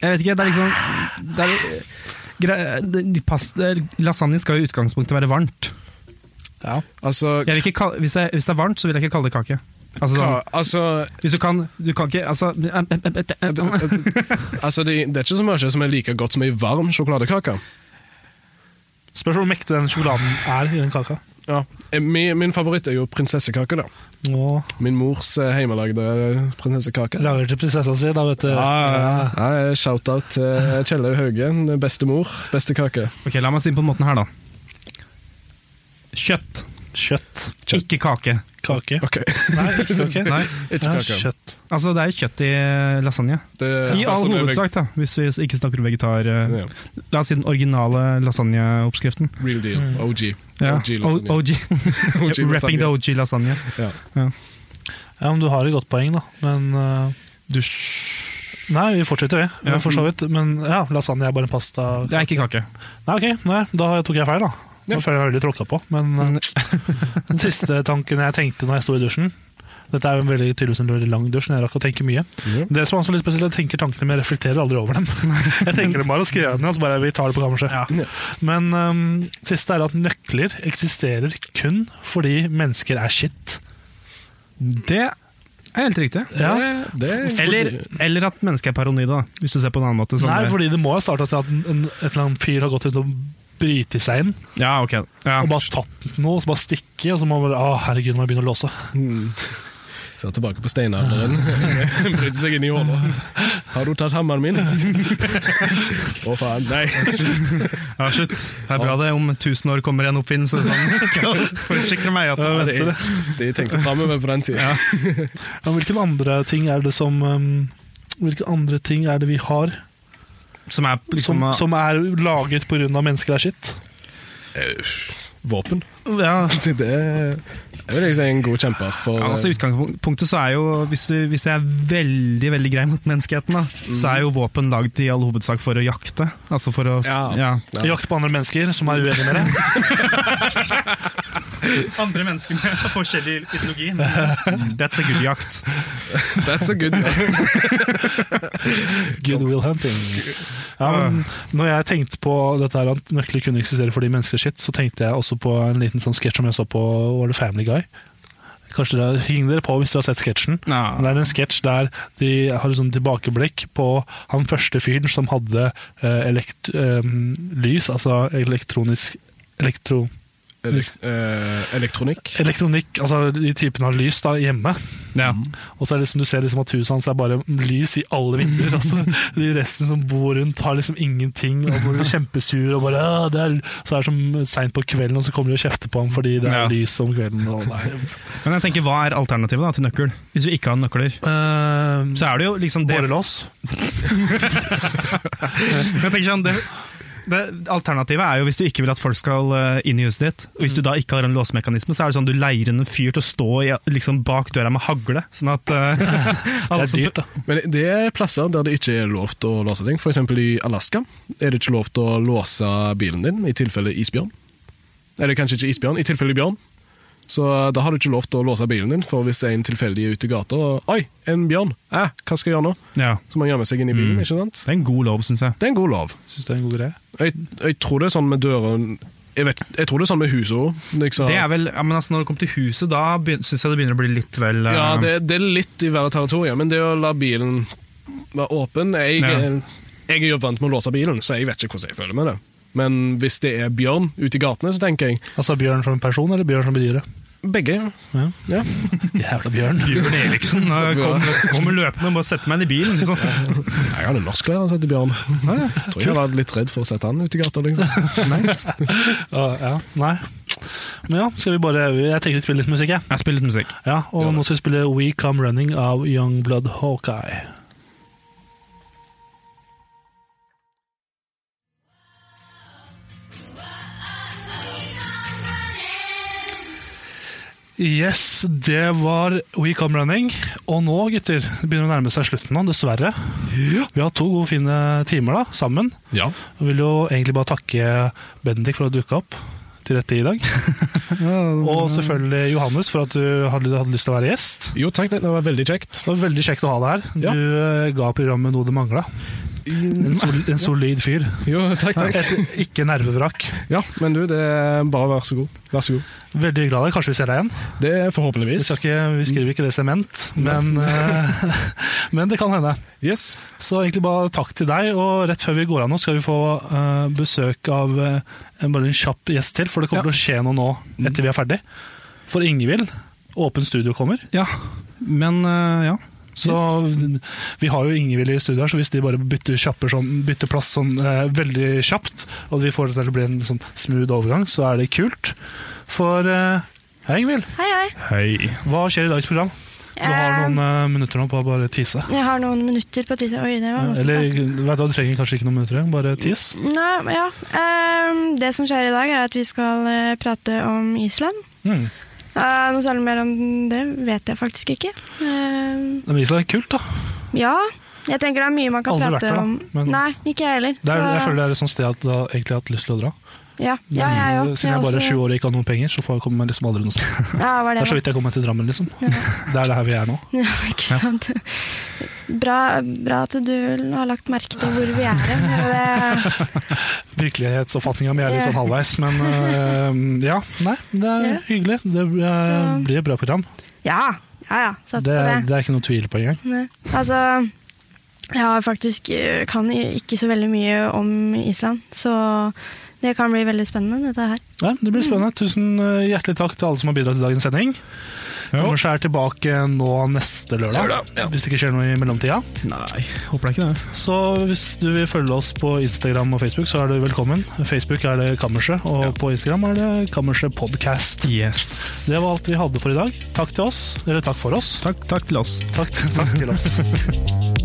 Jeg vet ikke, det er liksom det er, grei- det- pasta, Lasagne eh, skal jo i utgangspunktet være varmt. Altså, Jeg vil ikke kalle, hvis, jeg, hvis det er varmt, så vil jeg ikke kalle det kake. Altså, ka, sånn, altså, hvis du kan Du kan ikke Altså em, em, em, em, em. altså det, det er ikke så mye som er like godt som ei varm sjokoladekake. Spørs hvor mektig den sjokoladen er i den kaka. Ja. Eh, Min, min favoritt er jo prinsessekake. da. Og Min mors eh, hjemmelagde prinsessekake. lager til prinsessa si, da, vet du. Ja, eh, Shout-out til Kjellaug Haugen, eh, bestemor, beste kake. Ok, La meg si det på den måten her, da. Kjøtt, Kjøtt. ikke kake. Kake. Ok, Nei, ikke kake. Nei, ikke Ja, kake. kjøtt. altså Det er jo kjøtt i eh, lasagne. Det I spørs all om det er veg- hovedsak, da, hvis vi ikke snakker om vegetar... eh, Ja. La oss si den originale lasagneoppskriften. Real deal. OG. Mm. Ja. OG O- lasagne. OG. OG Wrapping the lasagne. OG lasagne. Ja. Ja, men du har et godt poeng, da. Men eh, Nei, vi fortsetter, vi. Ja. For så vidt. Men ja, lasagne er bare en pasta Det er ikke kake. Nei, ok, nei, da tok jeg feil, da. Nå Ja. føler jeg meg veldig tråkka på. Men eh, den siste tanken jeg tenkte når jeg sto i dusjen Dette er jo en veldig, tydeligvis en veldig lang dusj, men jeg rakk å tenke mye. Det som er også litt spesielt, Jeg tenker tankene, men jeg reflekterer aldri over dem. Jeg tenker dem bare og skriver dem ned, og så bare vi tar det på kammerset. Men ehm, siste er at nøkler eksisterer kun fordi mennesker er shit. Det er helt riktig. Ja. Det er Eller, eller at mennesket er paranoide, da, hvis du ser på en annen måte. Sånn Nei, der- fordi det må ha starta seg at en, en, et eller annet fyr har gått ut og brytet seg inn, ja, ok. Ja. og bare tatt noe, og så bare stikke, og så må man bare Å, herregud, må jeg begynne å låse. Ser tilbake på steinalderen. Brydde seg inn i håla. Har du tatt hammeren min? Å, faen. Nei. Ja, slutt. Det er bra det. Om 1000 år kommer en oppfinnelse. Sånn. Forsikre meg at Ja, det vet du er det? De tenkte framover på den tida. Men hvilke andre ting er det som um, Hvilke andre ting er det vi har Som er liksom som, som er laget pga. mennesker er skitt? våpen. Ja, Det er jeg vil jeg si en god kjemper for Ja, altså eh, Utgangspunktet så er jo, hvis, du- hvis jeg er veldig veldig grei mot menneskeheten, da, så er jo våpen lagd i all hovedsak for å jakte. Altså for å Ja. Jakt på andre mennesker som er uenige med deg. Andre mennesker med forskjellig ideologi. That's a good jakt. That's a good Goodwill hunting. Ja, men når jeg tenkte på dette her, at nøkler kunne eksistere fordi mennesker er shit, så tenkte jeg også på en liten sånn sketsj som jeg så på Var det Family Guy. Kanskje dere Heng dere på hvis dere har sett sketsjen. Ja. Det er en sketsj der de har liksom tilbakeblikk på han første fyren som hadde eh, elekt, eh, lys, altså elektronisk elektro... elek eh, elektronikk. elektronikk, altså de typene har lys da, hjemme. Ja. Og så er det liksom, du ser liksom at huset hans er bare lys i alle vinduer. Altså. De resten som bor rundt har liksom ingenting og blir kjempesur. Og bare, «Åh, det er... l-» Så er det som seint på kvelden, og så kommer de og kjefter på ham fordi det er Ja. lys om kvelden. Og nei. Men jeg tenker, hva er alternativet da til nøkkel? Hvis vi ikke har nøkler, Uh, så er det jo liksom det, Borrelås. jeg tenker sånn, det, det Alternativet er jo hvis du ikke vil at folk skal eh, inn i huset ditt. Og hvis du da ikke har en låsemekanisme, så er det sånn du leier inn en fyr til å stå i, liksom, bak døra med hagle. Sånn at eh, alle Det som- er dyrt, da. Men det er plasser der det ikke er lov til å låse ting. For eksempel i Alaska er det ikke lov til å låse bilen din i tilfelle isbjørn. Eller kanskje ikke isbjørn, i tilfelle bjørn. Så da har du ikke lov til å låse bilen din, for hvis en tilfeldig er ute i gata og Oi, en bjørn! Eh, hva skal jeg gjøre nå? Ja. Så må han gjemme seg inn i Mm. bilen, ikke sant? Det er en god lov, syns jeg. Det er en god lov. Syns det er en god greie. Jeg, jeg tror det er sånn med døren jeg, vet, jeg tror det er sånn med huset Liksom. Det er vel, ja, men altså Når det kommer til huset, da syns jeg det begynner å bli litt vel eh, Ja, det, det er litt i hver territorium, men det å la bilen være åpen Jeg, eh, Ja. jeg er jo vant med å låse bilen, så jeg vet ikke hvordan jeg føler med det. Men hvis det er bjørn ute i gatene, så tenker jeg Altså bjørn som person, eller bjørn som bedyret? begge. Ja. Ja. Jævla bjørn. Bjørn Eriksen eh, kom, kommer løpende og bare setter meg inn i bilen. Liksom. Jeg hadde norsklærer som heter Bjørn. Jeg tror jeg var litt redd for å sette han ute i gata. Liksom. Ja, ja, nei. Men ja, skal vi bare Jeg tenker vi spiller litt musikk, jeg. Jeg spiller litt musikk. Ja, og nå skal vi spille We Come Running av Youngblood Hawkeye. Yes, det var We Come Running. Og nå, gutter, det begynner å nærme seg slutten nå, dessverre. Vi har to gode, fine timer da, sammen. Ja. Jeg vil jo egentlig bare takke Bendik for å dukke opp til dette i dag. Og selvfølgelig Johannes for at du hadde, hadde lyst til å være gjest. Jo takk, det var veldig kjekt. Det var veldig kjekt å ha deg her. Ja. Du eh, ga programmet noe det mangla. En, sol, en solid fyr. Jo, takk, takk. Et ikke nervevrak. Ja, men du, det er bare vær så god. Vær så god. Veldig glad i deg. Kanskje vi ser deg igjen. Det er Vi, forhåpentligvis. skal ikke, vi skriver ikke det sement, men, eh, men det kan hende. Yes. Så egentlig bare takk til deg, og rett før vi går av nå skal vi få eh, besøk av eh, en, bare en kjapp gjest til, for det kommer til å skje noe nå etter vi er ferdig. For Ingvild, Åpen studio kommer. Ja, men eh, ja. Så Vi har jo Ingvild i studio her, så hvis de bare bytter, kjapper sånn, bytter plass sånn eh, veldig kjapt, og vi får det til å bli en sånn smooth overgang, så er det kult. For eh, Hei, Ingvild. Hei, hei. Hei. Hva skjer i dagens program? Du har Eh, noen eh, minutter nå på å bare tise. Jeg har noen minutter på tissen. Oi, det var voldsomt, Eller vet du hva, du trenger kanskje ikke noen minutter, bare tis. da. Nei, ja. Ehm, det som skjer i dag, er at vi skal eh, prate om Island. Mm. Eh, noe særlig mer om det vet jeg faktisk ikke. Ehm, Det viser seg kult, da. ja, jeg tenker det er mye man kan Aldri vært prate der, da, om. men- Nei, ikke jeg heller. Det er, Så- jeg føler det er et sånt sted at jeg har egentlig har hatt lyst til å dra. ja. ja, Men, jeg jo. eh, Siden jeg bare er også- sju år og ikke har noen penger, så får jeg komme meg liksom aldri noe sted. Ja, var Det det, er så da. vidt jeg kommer meg til Drammen, liksom. Det er det her vi er nå. ja, ikke sant. Bra, bra at du har lagt merke til hvor vi er hen. og det- Virkelighetsoppfatninga mi er litt Ja. sånn halvveis, men eh, ja. Nei, det er Ja. hyggelig. Det blir- eh, Så- blir et bra program. Ja, ja, ja. Satser Det, på det. det er ikke noe tvil på engang. Nei. Altså, jeg har faktisk eh, kan i- ikke så veldig mye om Island, så det kan bli veldig spennende, dette her. Nei, det Mm. blir spennende. Tusen eh, hjertelig takk til alle som har bidratt til dagens sending. Anders er tilbake nå neste lørdag, hvis det ikke skjer noe i mellomtida. Nei, håper det er ikke det. Så hvis du vil følge oss på Instagram og Facebook, så er du velkommen. Facebook er det Kammerset, og på Instagram er det Kammerset Podcast. Yes. Det var alt vi hadde for i dag. Takk til oss, eller takk for oss. Takk, takk til oss. Takk, takk til oss.